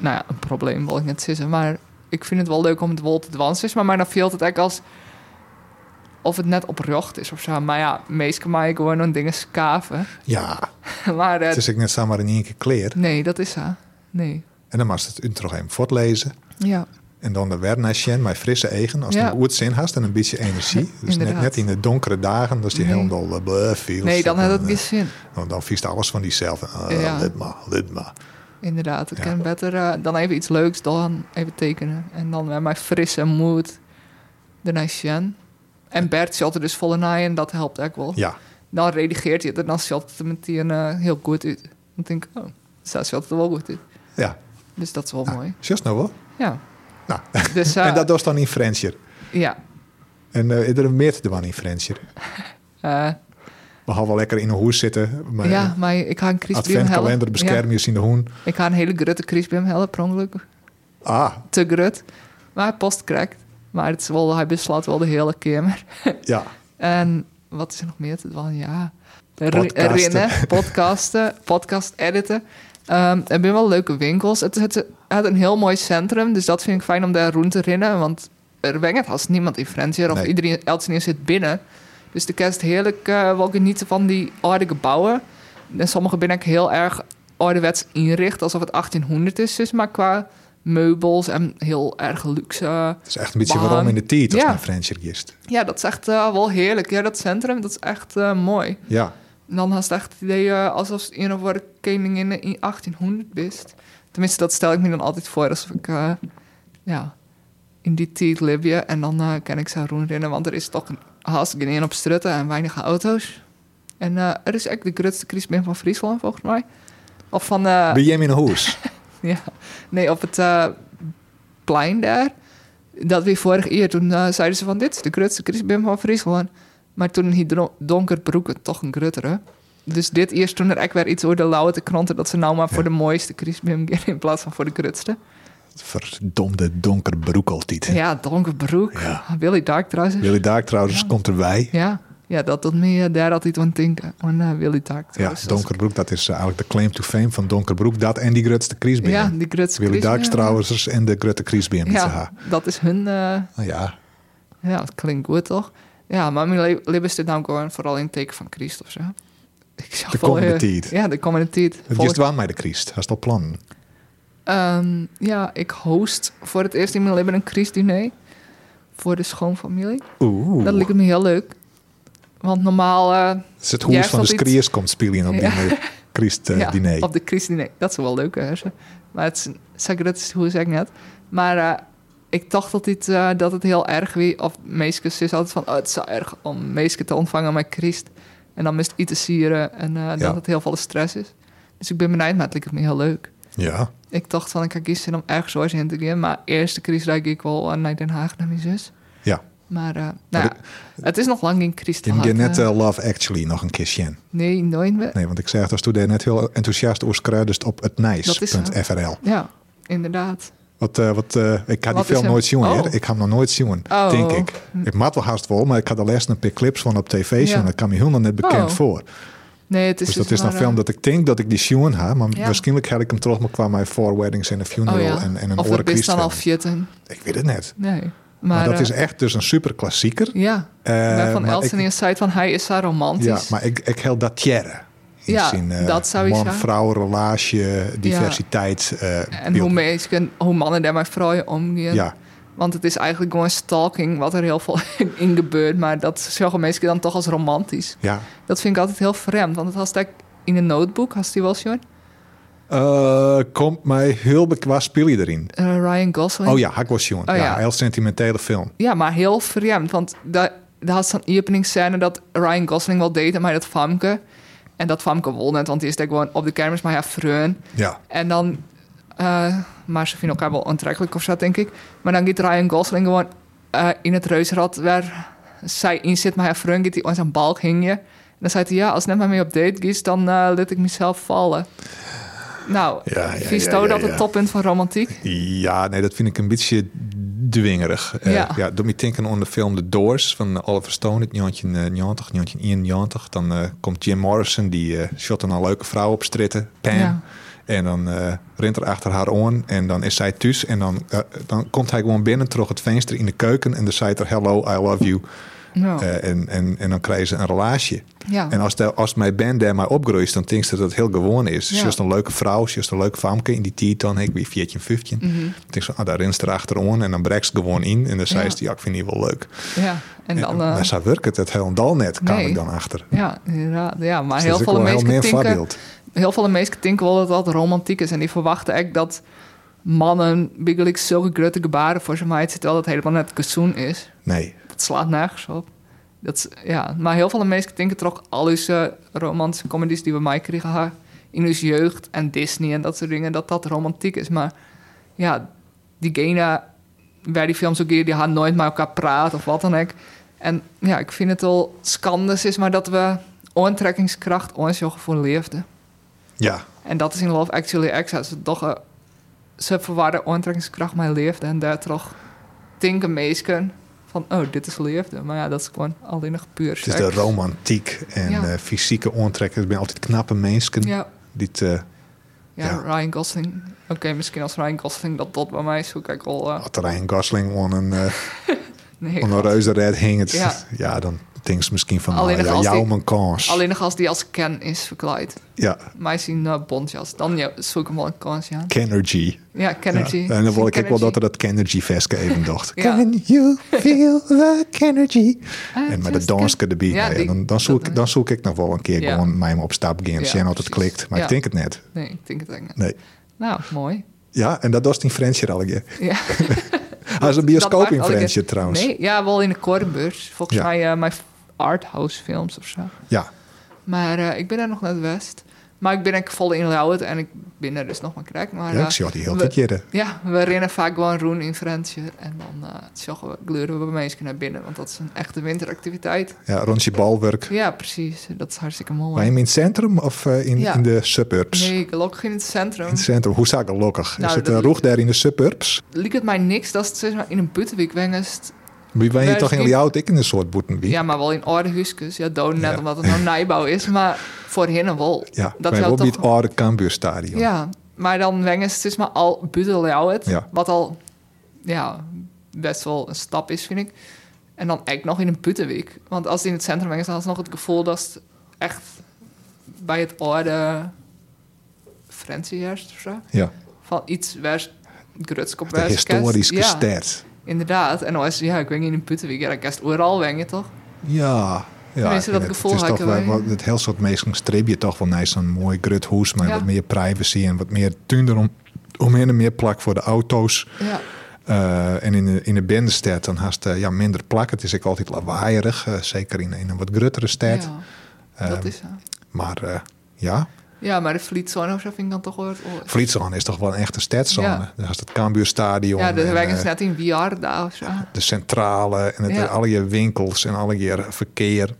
nou ja, een probleem, wil ik net zeggen. Maar ik vind het wel leuk om het wol te dwansen. is, Maar mij dan viel het eigenlijk als of het net oprecht is of zo. Maar ja, meestal kan ik gewoon aan dingen schaven.
Ja,
maar eh,
het is ik net samen in één keer kleer.
nee, dat is zo. Nee.
En dan mag het u nog even voortlezen.
Ja,
En dan de weer naar Sjen, mijn frisse eigen. Als
Ja.
je een goed zin hast en een beetje energie. Dus net,
Inderdaad.
net in de donkere dagen, dat is die
Nee.
helemaal eh, bleh, viel.
nee, dan had het
eh,
geen zin.
Dan, dan viest alles van diezelf. Eh,
Ja.
Dit maar, dit maar.
Inderdaad, ik
Ja.
kan beter eh, dan even iets leuks dan even tekenen. En dan met mijn frisse moed de Sjen. En Bert zat er dus volle naai en dat helpt eigenlijk wel.
Ja,
Dan redigeert hij het en dan zat het er meteen eh, heel goed uit. Dan denk ik, oh, dat zat er wel goed uit.
ja.
Dus dat is wel mooi.
Just nou wel.
Ja.
Nou,
Dus eh,
en dat was dan in Frenchier.
ja,
En eh, er meert er wel in Frenchier.
eh,
We gaan wel lekker in een hoes zitten. Maar eh,
ja, maar ik ga een kriesbeam
adventkalender
helpen.
bescherm je zien de hoen.
Ja, ik ga een hele grutte kriesbeam helpen, per ongeluk.
Ah,
Te grut. Maar hij post krijgt. Maar het is wel, hij beslaat wel de hele kamer.
ja.
En wat is er nog meer te doen? Ja, Ri-
Podcasten.
rinnen, podcasten, podcast editen. Ehm er zijn wel leuke winkels. Het, het, het had een heel mooi centrum, dus dat vind ik fijn om daar rond te rinnen. Want er wengt haast niemand in Frenzier of
Nee.
iedereen Elsevier zit binnen. Dus de kerst heerlijk eh wel genieten van die oude gebouwen. En sommige ben ik heel erg ouderwets inricht, alsof het 1800 is. Dus maar qua meubels en heel erg luxe.
Het is echt een beetje
Behang.
waarom in de tijd als
Ja.
naar Frenchier gist.
Ja, dat is echt eh, wel heerlijk. Ja, dat centrum, dat is echt eh, mooi.
Ja,
En dan had je echt het idee eh, alsof ze een of andere koningin in 1800 bist. Tenminste, dat stel ik me dan altijd voor. Alsof ik eh, ja, in die tijd leef je. En dan eh, kan ik zo rondrennen, want er is toch een- haast geen een op strutten en weinig auto's. En eh, er is echt de grootste crisis van Friesland, volgens mij. Of van... eh,
bij hem in een hoes.
ja, nee, op het eh, plein daar. Dat weer vorig jaar, toen eh, zeiden ze van dit is de grootste Christbim van Friesland. Maar toen die dro- donkerbroeken toch een gruttere. Dus dit eerst toen er echt weer iets over de lauwe te kranten... dat ze nou maar voor de mooiste Christbim gaan in plaats van voor de grutste.
Verdomde donker broek altijd.
Ja, donkerbroek.
Ja.
Willy Dark trouwens.
Willy Daak trouwens komt erbij.
Ja. ja, dat doet me eh, daar altijd aan denken. Aan eh, Willy Dark
Ja,
trouwens.
Donkerbroek, dat is eh, eigenlijk de claim to fame van Donkerbroek. Dat en die Grutste Kriesbeer.
Ja, die grutste
Willy Darks
Christbim.
trouwens en de Grutte Kriesbeer met z'n
Ja,
haar.
dat is hun... eh,
Nou ja,
Ja, dat klinkt goed toch? Ja, maar mijn le- lip is dit nou gewoon vooral in het teken van Christ of zo. Ik zag
De
wel, eh,
komende tijd.
Ja, de komende tijd.
het
Volg-
is waar mij de Christ. Hij is al plan.
Ehm, ja, ik host voor het eerst in mijn leven een Christdiner. Voor de schoonfamilie.
Oeh.
Dat lijkt me heel leuk. Want normaal... eh,
Het is het
Jij
hoes van de
valt iets-
Skries komt spelen op die
Ja.
eh, Christ eh,
ja,
diner.
op de Christdiner. Dat is wel leuk, hè. Maar het is een- zeg ik dat is hoe zeg ik net. Maar eh, ik dacht altijd eh, dat het heel erg wie Of meisjes is altijd van, oh, het is zo erg om meisjes te ontvangen met Christ. En dan mist iets te sieren en eh,
Ja.
dat het heel veel stress is. Dus ik ben benijd, maar het lijkt me heel leuk.
Ja,
Ik dacht van, ik had gisteren om ergens zoals in te gaan. Maar eerst de Christ rijd ik wel eh, naar Den Haag, naar mijn zus.
ja.
Maar eh,
Maar
nou, ja, het is nog lang geen Christ
Je moet je
gehad,
net
eh.
eh, Love Actually nog een keer in.
nee, nooit meer.
Nee, want ik zei het als toen deed net heel enthousiast oorskruidest op het
Dat is zo.
nijs.frl.
Ja, inderdaad.
Wat, eh, wat, eh, ik had die
Wat is
film
hem?
nooit zien.
Oh.
hè. Ik heb hem nog nooit zien,
Oh.
denk ik. Ik maat wel haast wel, maar ik had de laatst een paar clips van op tv zien.
Ja.
Dat kwam me helemaal net bekend
Oh.
voor.
Nee, het is
Dus dat is een
maar,
film
eh,
dat ik denk dat ik die zien heb. Maar
Ja.
waarschijnlijk had ik hem terug maar qua mijn Four Weddings and a Funeral
oh ja.
en, en een
Of het is
orenkwist
dan al
film.
vierten.
Ik weet het net.
Nee. Maar,
Maar, dat
eh,
is echt dus een super klassieker.
Ja.
Eh,
Waarvan
maar
Elton
ik-
eerst zei van hij is haar romantisch.
Ja, maar ik, ik held dat tierre. In
Ja,
zijn, eh,
dat zou ik
man,
zeggen.
vrouw, relatie, diversiteit. eh,
en hoe,
beeld.
mensen, hoe mannen daar met vrouwen omgaan.
Ja,
Want het is eigenlijk gewoon stalking wat er heel veel in gebeurt. Maar dat zeggen mensen dan toch als romantisch.
ja.
Dat vind ik altijd heel vreemd. Want het had ik in een notebook, had die wel zo'n
Eh, komt mij heel bekwaam speel je erin.
eh, Ryan Gosling.
Oh ja, Hak was jong.
Oh
ja,
ja.
heel sentimentele film.
Ja, maar heel vreemd. Want daar daar had zo'n openingsscène dat Ryan Gosling wel deed maar dat Famke. En dat Famke won het, want die is daar gewoon op de kermis maar haar vreun.
Ja.
En dan, eh, maar ze vinden elkaar wel aantrekkelijk of zo, denk ik. Maar dan gaat Ryan Gosling gewoon eh, in het reuzenrad waar zij in zit, maar haar vriend gaat die aan zijn balk hingen. En dan zei hij, ja, als net maar mee op date kies, dan eh let ik mezelf vallen. Nou,
Ja, ja,
vies
ja,
toch
ja,
dat
ja.
het toppunt van romantiek?
Ja, nee, dat vind ik een beetje dwingerig. Eh,
Ja.
ja, doet me denken aan de film The Doors van Oliver Stone eh, uit 1990, 1991. Dan eh, komt Jim Morrison, die eh shot een leuke vrouw op stritten, Pam.
Ja.
En dan eh, rent er achter haar aan en dan is zij thuis. En dan, eh, dan komt hij gewoon binnen, terug het venster in de keuken. En dan zei er, hello, I love you.
Nou,
Eh, en, en, en dan krijgen ze een relatie.
ja.
En als, de, als mijn band daar maar opgroeit, dan denk ik dat het heel gewoon is.
Ja.
Ze is een leuke vrouw, ze is een leuke famke in die tijd dan, ik ben 14, 15. Dan denk ik zo, ah, daar rent ze erachteraan en dan breekt ze gewoon in. En dan zei
Mhm. Ja.
ze, ja, ik vind die wel leuk.
ja. En dan... eh,
maar zo werkt het, het heel dal net, kwam
nee.
ik dan achter.
ja, inderdaad. Ja, maar
Dus
heel
dat is ook
veel
wel
mensen
meer
denken...
voorbeeld.
heel veel mensen denken wel dat dat romantiek is. En die verwachten echt dat mannen biggelijk zulke grote gebaren voor zijn meid zitten. Terwijl dat helemaal net kazoen is.
Nee,
Dat slaat nergens op. Dat is, ja. Maar heel veel mensen denken toch al eens eh, romantische comedies die we mij kregen haar, in ons jeugd en Disney en dat soort dingen, dat dat romantiek is. Maar ja, diegene waar die films ook hier, die gaan nooit met elkaar praten of wat dan ook. En ja, ik vind het wel scandus is, maar dat we aantrekkingskracht ons voor leefden.
ja,
En dat is in Love Actually X. Ze, toch, eh, ze verwarren aantrekkingskracht met leefde. En daar toch denken meesken van... oh, dit is leefde. Maar ja, dat is gewoon alleen nog puur
het is
seks.
de romantiek en
Ja.
eh, fysieke ontrekken. Het zijn altijd knappe mensen.
Ja,
Die het, eh,
ja,
Ja.
Ryan Gosling. Oké, misschien als Ryan Gosling dat dat bij mij is... zoek ik al... eh,
had Ryan Gosling aan een, eh,
nee,
aan een
God.
reuze red hing. Het, ja.
Ja.
dan denk ze misschien van,
Alleen
nou,
nog
ja,
als
jou
die-
mijn kans.
alleen nog als die als Ken is verkleid.
Ja,
Mij zien eh bondjas. Dan ja, zoek ik hem wel een kans, ja.
Kennergy.
Ja, Kennedy.
Ja, en dan wil ik ook wel dat er
dat
dat Kennergy veske even dacht.
Ja.
Can you feel the Kennergy?
I
en met de
just
danske
can-
erbij.
Ja,
Ja,
die-
dan, dan, zoek, ik-
dat-
dan zoek ik nog wel een keer
Ja.
gewoon mijn op stap gaan.
Ja,
zien of het
precies.
klikt. Maar
Ja.
ik denk het net.
Nee, ik denk het eigenlijk niet.
Nee.
Nou, mooi.
Ja, en dat was in Fransje al een keer.
Ja.
Hij is een
Dat
bioscoop
maakt
in
alle
Fransje
keer-
trouwens.
Nee, ja, wel in de Korenbeurs. Volgens
Ja.
mij eh, mijn arthouse films of zo.
Ja,
Maar eh, ik ben daar nog net west. Maar ik ben ook vol in Lauwet en ik ben er dus nog maar krek. Maar,
ja,
eh,
ik zie al die heel
we-
tijd jaren.
Ja, we rennen vaak gewoon roen in Frensje. En dan eh zorgen we, kleuren we bij mensen naar binnen. Want dat is een echte winteractiviteit.
Ja, rondje balwerk.
Ja, precies. Dat is hartstikke mooi.
Maar hem in het centrum of eh, in,
Ja.
in de suburbs?
Nee, ik lok in het centrum.
In het centrum. Hoe zag ik gelukkig?
Nou,
is het
dat-
een roeg daar in de suburbs?
Liek het mij niks dat het zeg maar, in een buitenwijk wengest.
Wie ben je
Daar
toch
is
in
die-
jouw ik in een soort boeten? wie?
Ja, maar wel in orde huskes. Ja, dood net
Ja.
omdat het nou nijbouw is. Maar voor hen wel.
Ja,
dat
bij
wel
Robbie
toch
het oude Cambuurstadion.
Ja, maar dan wengen ze het is maar al buiten Ljouwert.
Ja.
Wat al ja, best wel een stap is, vind ik. En dan echt nog in een buitenwijk. Want als het in het centrum wengen, dan is nog het gevoel dat het echt bij het orde Frensie heerst of zo.
ja.
Van iets waar Grutskop
De historische
ja,
stad.
inderdaad. En als ja, ik weet niet, in een buitenwijk, ja, dan kerst overal wengen, toch?
Ja. Ja,
Tenminste,
ik
dat
vind
gevoel
het, het
had
is
ik
toch wel,
wel, ja.
wat- het heel soort mensen streep je toch wel naar zo'n mooi grut hoes, maar
Ja.
wat meer privacy en wat meer tuin erom, omheen en meer plak voor de auto's.
Ja,
Eh, en in de, in de binnenstad dan haast eh, ja, minder plak. Het is ook altijd lawaaierig, eh, zeker in, in een wat gruttere stad.
ja
Ehm,
dat is zo.
Maar eh, ja,
Ja, maar de Vlietzone of zo vind ik dan toch wel... oh,
Friesland is toch wel een echte stadzone.
Ja.
Dan haast het Cambuurstadion.
Ja, de
en,
wengen
eh,
net in Viarda of zo.
de centrale en het,
Ja.
al je winkels en al je verkeer.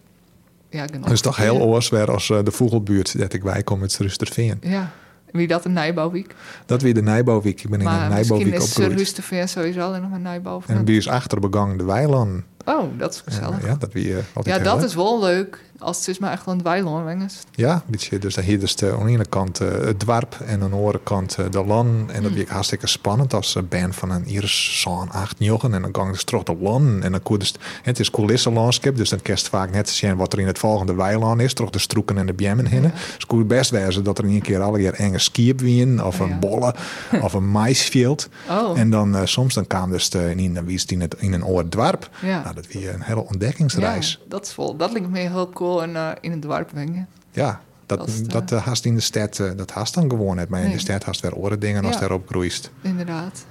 Ja, genau.
Dat is toch heel oors weer als eh, de vogelbuurt dat ik bij kom met Rusterveen.
Ja, Wie dat een Nijbouwweek.
Dat weer de Nijbouwweek. Ik ben in
Maar
een
misschien
Nijbouwweek
is Surhuis
opgegroeid.
te vinden sowieso alleen nog maar Nijbouw.
En bij ons achterbegang de Weiland.
Oh, dat is gezellig.
Ja, dat weer eh, altijd
Ja,
heel
dat
leuk.
is wel leuk. Als het is maar echt aan het weiland wengens.
Ja, een beetje. Dus dan hier dus de, aan de ene kant eh, het dorp en aan de andere kant eh, de lan. En dat
Mm.
werd hartstikke spannend als een band van een Iers zo'n acht jochen. En dan gaan ze terug de lan. En dan kun je dus- het is coulissenlandschap, dus dan kerst vaak net zien wat er in het volgende weiland is. Terug de stroeken en de bjemmen hinnen.
Ja.
Dus kun je best wijzen dat er in een keer alle keer enge skiep wien of een
Ja.
bolle of een maisveld.
Oh,
En dan eh, soms dan kwam dus de, in, dan wies die in, het, in een oor dwarp.
ja.
Nou, dat weer een hele ontdekkingsreis.
Ja, dat, is wel, dat lijkt me heel cool en, eh, in het dorp wengen.
Ja, dat,
Dat is de-
dat eh, haast in de stad, eh, dat haast dan gewoon net. Maar in
Nee.
de stad haast weer andere dingen als
Ja.
daarop groeist.
Inderdaad.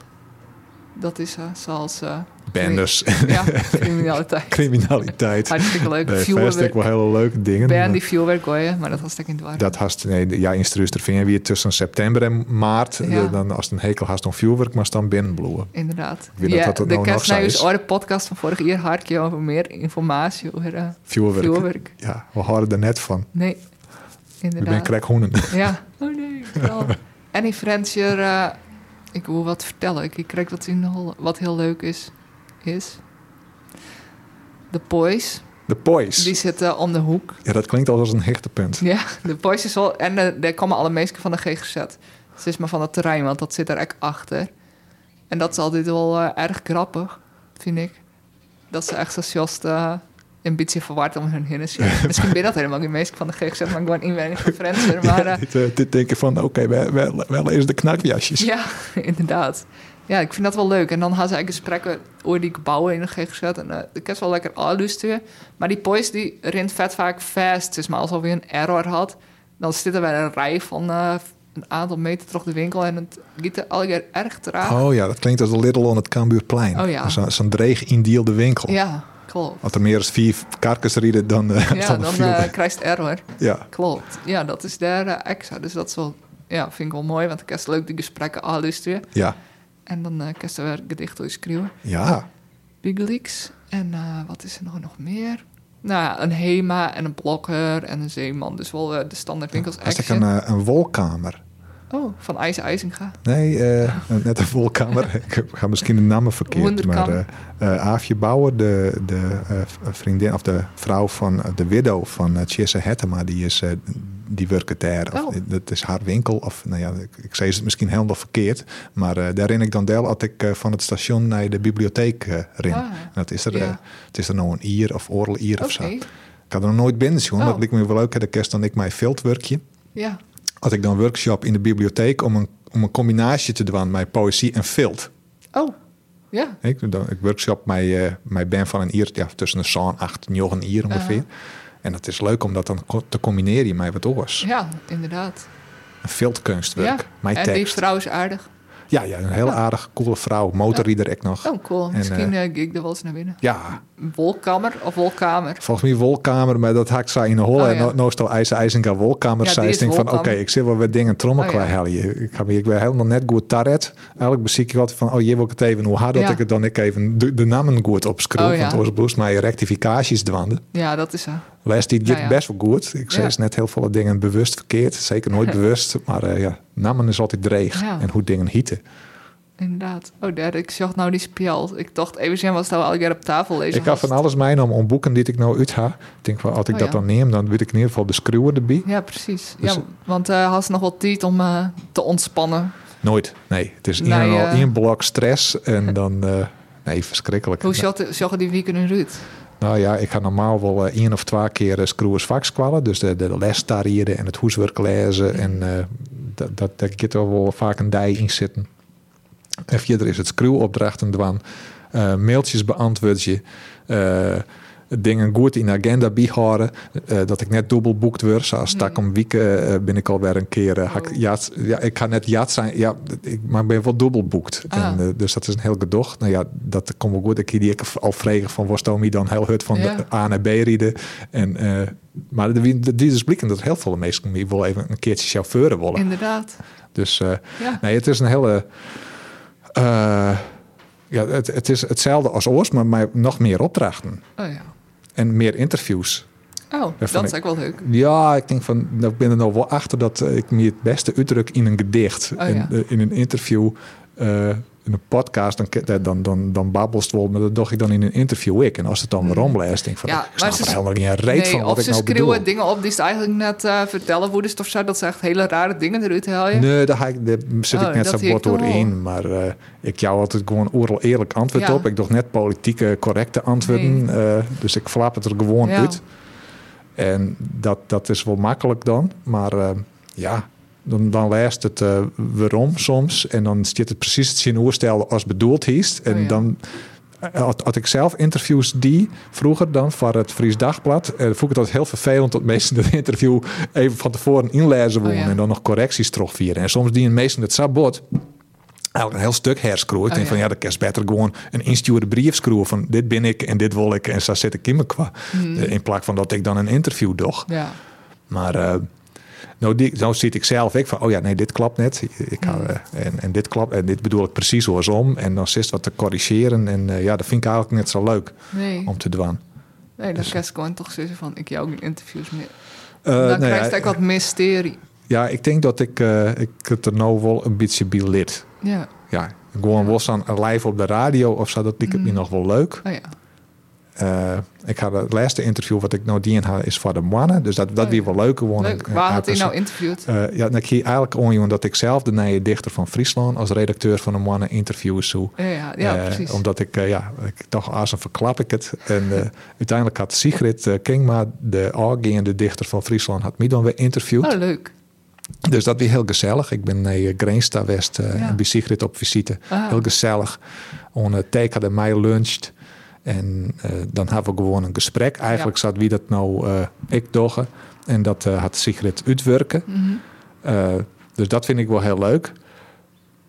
Dat is eh, zoals... eh,
Benders,
ja, criminaliteit.
criminaliteit.
Hartstikke leuk.
Nee,
Vuurwerk.
Vuurwerk. wel hele leuke dingen.
Ben die vuurwerk gooien, maar dat was ik in het dorp.
Dat haast, nee, ja, in Struis vinden weer tussen september en maart.
Ja.
Eh, Dan, als het een hekel haast om vuurwerk, maar dan binnenbloeien.
Inderdaad.
weet dat dat het
de
nou nog
kerst naar
zo
is
is.
oude podcast van vorig jaar had ik je over meer informatie over eh,
Vuurwerk.
vuurwerk.
Ja, we houden er net van.
Nee,
We ben
inderdaad.
krekhoenen.
Ja. Oh nee, knal. En die friends hier, eh, ik wil wat vertellen. Ik krijg wat in Holle- wat heel leuk is. is. De Poise,
De pois.
die zitten om de hoek.
Ja, dat klinkt al als een hechtepunt.
Ja, de Poise is al... En eh, daar komen alle mensen van de GGZ. Het is maar van het terrein, want dat zit er echt achter. En dat is altijd wel eh, erg grappig, vind ik. Dat ze echt zoals eh een beetje verward om hun hinnen zitten. Misschien ben dat helemaal geen mensen van de GGZ, maar gewoon inwendig van Friends. Maar eh,
dit, eh, dit denken van, oké, wij, wij, wij lezen de knakjasjes.
Ja, inderdaad. Ja, ik vind dat wel leuk. En dan hadden ze eigenlijk gesprekken over die gebouwen in de GGZ. En eh ik heb wel lekker afluisteren. Maar die boys die rint vet vaak vast. Dus maar als alweer een error had, dan zitten wij in een rij van eh, een aantal meter terug de winkel. En het giet er alle keer erg traag.
Oh ja, dat klinkt als de Lidl aan het Cambuurplein.
Ah. Oh ja.
Zo- Zo'n dreig indiel de winkel.
Ja, klopt.
Als er meer dan vier karkens rieden, dan, eh
Ja, dan
dan viel
eh
de-
krijg je het error.
Ja,
Klopt. Ja, dat is daar eh, extra. Dus dat is wel, ja, vind ik wel mooi. Want ik heb leuk die gesprekken afluisteren.
ja,
En dan eh kan je er weer gedichten schrijven.
ja.
Big Leaks. En eh, wat is er nou nog meer? Nou ja, een Hema en een Blokker en een Zeeman. Dus wel eh, de standaard winkels.
Als ik
Action.
een, eh, een wolkamer.
Oh, van IJs IJsinga.
Nee, eh, een- net een wolkamer. ik ga misschien de namen verkeerd.
Wonderkam.
Maar eh eh, Aafje Bouwer, de, de eh, vriendin of de vrouw van eh, de widow van eh Chisse Hettema, die is... eh die werken daar. Of,
Oh.
eh, Dat is haar winkel. Of nou ja, ik, ik zei het misschien helemaal verkeerd. Maar eh daarin ik dan deel had ik eh, van het station naar de bibliotheek eh rin.
Ah,
En dat is er,
Ja.
eh, het is er nou een ier of oorl ier
Oké,
of zo. Ik had er nog nooit binnen zien,
Oh.
dat ik me wel leuk. hè, De kerst dan ik mijn veldwerkje.
ja.
Had ik dan workshop in de bibliotheek om een, om een combinatie te doen met poëzie en veld.
Oh, ja.
Ik, dan, ik workshop mij, eh mij ben van een ier, ja, tussen de zo'n acht en negen ier ongeveer.
Oh.
En dat is leuk om dat dan co- te combineren met wat oors.
Ja, inderdaad.
Een veldkunstwerk,
Ja,
mijn
en die
tekst.
vrouw is aardig.
Ja, ja, een heel
Ja.
aardige, coole vrouw, motorrieder ik nog.
Oh, cool.
En,
Misschien eh ging ik er wel eens naar binnen.
Ja,
Wolkamer of Wolkamer.
volgens mij Wolkamer, maar dat haak zij in de holle.
Oh,
En
ja.
nou- nou is het al IJzer IJzinga Wolkamer.
Ja, die
zij
is
denkt van, oké,
Wolkamer.
ik zit wel wat dingen trommel
Oh, ja.
qua helje. Ik, ga, me- ik ben helemaal net goed tarret. Eigenlijk bezie ik altijd van, oh, je wil ik het even. Hoe hard dat
Ja.
ik het dan ik even de, de namen goed opschroef.
Oh, ja.
Want oorspronkelijk is mij rectificaties dwanden.
Ja, dat is ze.
Les die dit
Nou ja.
best wel goed. Ik zei
Ja.
is net heel veel dingen bewust verkeerd. Zeker nooit bewust. Maar eh, ja, namen is altijd dreig.
Ja.
En hoe dingen hieten.
Inderdaad. Oh, daar, ik zag nou die spiel. Ik dacht even zien wat ze nou al keer op tafel lezen.
Ik had van alles mij om, om boeken die ik nou uit ha. Ik denk van, als ik
Oh,
dat
ja.
dan neem, dan weet ik in ieder geval de screwer erbij.
Ja, precies.
Dus-
ja, want eh had ze nog wel tijd om eh, te ontspannen.
Nooit, nee. Het is één
Nee,
en al
eh.
één blok stress en dan... eh, nee, verschrikkelijk.
Hoe zag de- zag die weekend in Ruud?
Nou ja, ik ga normaal wel eh, één of twee keer uh, screwers vak squallen. Dus de, de les tarieren en het hoeswerk lezen. En eh, dat, dat, daar gaat er wel vaak een dij in zitten. En verder is het screwopdrachten dwan. Eh, mailtjes beantwoord je. Eh, dingen goed in de agenda bijhouden. Eh, dat ik net dubbel boekt word. Zoals stak om wieken eh ben ik alweer een keer. eh, hak-
Oh.
ja, het- ja, ik ga net jaat zijn. Ja, ik, maar ik ben wel dubbel boekt.
Ah.
En, eh, dus dat is een heel gedocht. Nou ja, dat komt wel goed. Ik die ik al vregen van was Tommy dan heel hard van
Ja.
de A naar B rieden. En, eh, maar de, de, die dus blikken dat heel veel mensen die wel even een keertje chauffeuren willen.
Inderdaad.
Dus eh,
Ja.
Nee, het is een hele. eh, ja, het, het is hetzelfde als oors, maar, maar nog meer opdrachten
Oh ja.
en meer interviews.
Oh,
vond
dat
ik-
is ook wel leuk.
Ja, ik denk van, nou, ik ben er nog wel achter dat eh, ik me het beste uitdruk in een gedicht.
Oh,
in,
ja.
eh, in een interview, eh, in een podcast, dan, ke- dan, dan, dan babbelst wel, maar dat dacht ik dan in een interview ik. En als het dan weer omblijst, denk ik van,
Hmm. Ja,
ik
maar
snap
ze
er
s-
helemaal niet een reet van
of
wat ik
ze
nou
schreeuwen
bedoel.
dingen op die ze eigenlijk net eh, vertellen hoe dus of zo. Dat ze echt hele rare dingen eruit halen.
Nee, daar, ga ik, daar zit
Oh,
ik net
dat
zo
zie ik
bot door
wel.
in. Maar eh, ik jou altijd gewoon oral eerlijk antwoord
Ja.
op. Ik dacht net politieke correcte antwoorden. eh, dus ik flap het er gewoon
Ja.
uit. En dat, dat is wel makkelijk dan. Maar eh, ja, dan, dan leest het eh, waarom soms. En dan zit het precies het zinoerstelde als bedoeld is. En
Oh ja.
dan had, had ik zelf interviews die vroeger dan voor het Fries Dagblad. eh vond ik dat heel vervelend dat mensen het interview even van tevoren inlezen
Oh ja.
wonen. En dan nog correcties terugvieren. En soms die mensen het sabot. Eigenlijk een heel stuk herschroeven. Ik
Oh
denk
ja.
van ja, dat kerst beter gewoon een instuurde brief schroeven. Van dit ben ik en dit wil ik en zo zit ik in me qua.
Hmm.
Eh, In plaats van dat ik dan een interview doch.
Ja.
Maar eh, nou, die, nou zit ik zelf ik van, oh ja, nee, dit klapt net. Ik
Mm.
hou, eh, en, en dit klapt, en dit bedoel ik precies hoorsom. En dan zit wat te corrigeren. En eh, ja, dat vind ik eigenlijk net zo leuk
Nee,
om te doen.
nee dat
Oh, dus-
kerst gewoon toch zeggen van ik jou ook in interviews meer.
Eh,
Dan
nou ja,
krijg je ook wat mysterie.
ja, ik denk dat ik, eh, ik het er nou wel een beetje bij lid.
Ja,
Ja, gewoon was aan live op de radio of zo, dat ik het me nog wel leuk.
oh ja.
Eh, ik had het laatste interview wat ik nou die in had is voor de mannen. Dus dat, dat
Oh,
weer wel leuk gewoon.
Leuk.
Eh,
Waar had hij
perso-
nou interviewd?
Eh, ja, dan zie je eigenlijk onjongen dat ik zelf de nieuwe dichter van Friesland als redacteur van de mannen interviews zoe.
Ja, ja, ja,
Eh,
precies.
omdat ik, eh, ja, ik dacht, ah, zo verklap ik het. En eh, uiteindelijk had Sigrid eh, Kingma, de aangaande dichter van Friesland, had mij dan weer interviewd.
Oh, leuk.
Dus dat weer heel gezellig. Ik ben naar eh, Greensta West eh,
Ja.
en bij Sigrid op visite.
Ah.
Heel gezellig. On het teken dat mij luncht. En eh, dan hebben we gewoon een gesprek. Eigenlijk zat wie dat nou eh, ik doggen. En dat eh, had Sigrid uitwerken.
Mhm.
Eh, dus dat vind ik wel heel leuk.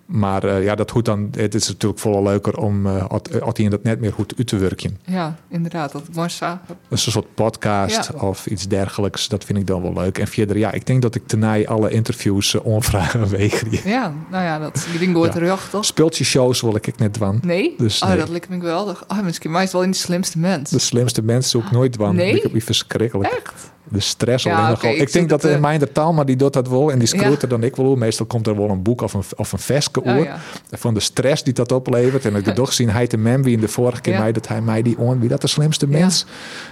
Maar eh, ja, dat goed dan. Het is natuurlijk veel leuker om eh at- at hij dat net meer goed uit te werken.
Ja, inderdaad. Dat ik mooi zag.
Dus een soort podcast
Ja.
of iets dergelijks. Dat vind ik dan wel leuk. En verder, ja, ik denk dat ik tenai alle interviews eh, onvragen weeg.
Ja, nou ja, dat die ding hoort
Ja.
terug, toch?
Spultje shows wil ik net doen.
Nee?
Dus
oh,
nee.
dat lijkt me geweldig. Oh, misschien maakt het wel in de slimste mens.
De slimste mensen zoek ik nooit doen.
Nee?
Ik heb die verschrikkelijk.
Echt?
De stress
Ja,
alleen
oké,
nog al.
ik
Ik,
zie
denk dat
dat, eh,
in mijn taal, maar die doet dat wel. En die
Ja.
scroot er dan ik wel. hoe. Meestal komt er wel een boek of een, of een veske oor.
Oh, ja.
Van de stress die dat oplevert. En het gedocht zien hij te mem wie in de vorige keer
Ja.
mij dat hij mij die on, wie dat de slimste
Ja.
mens.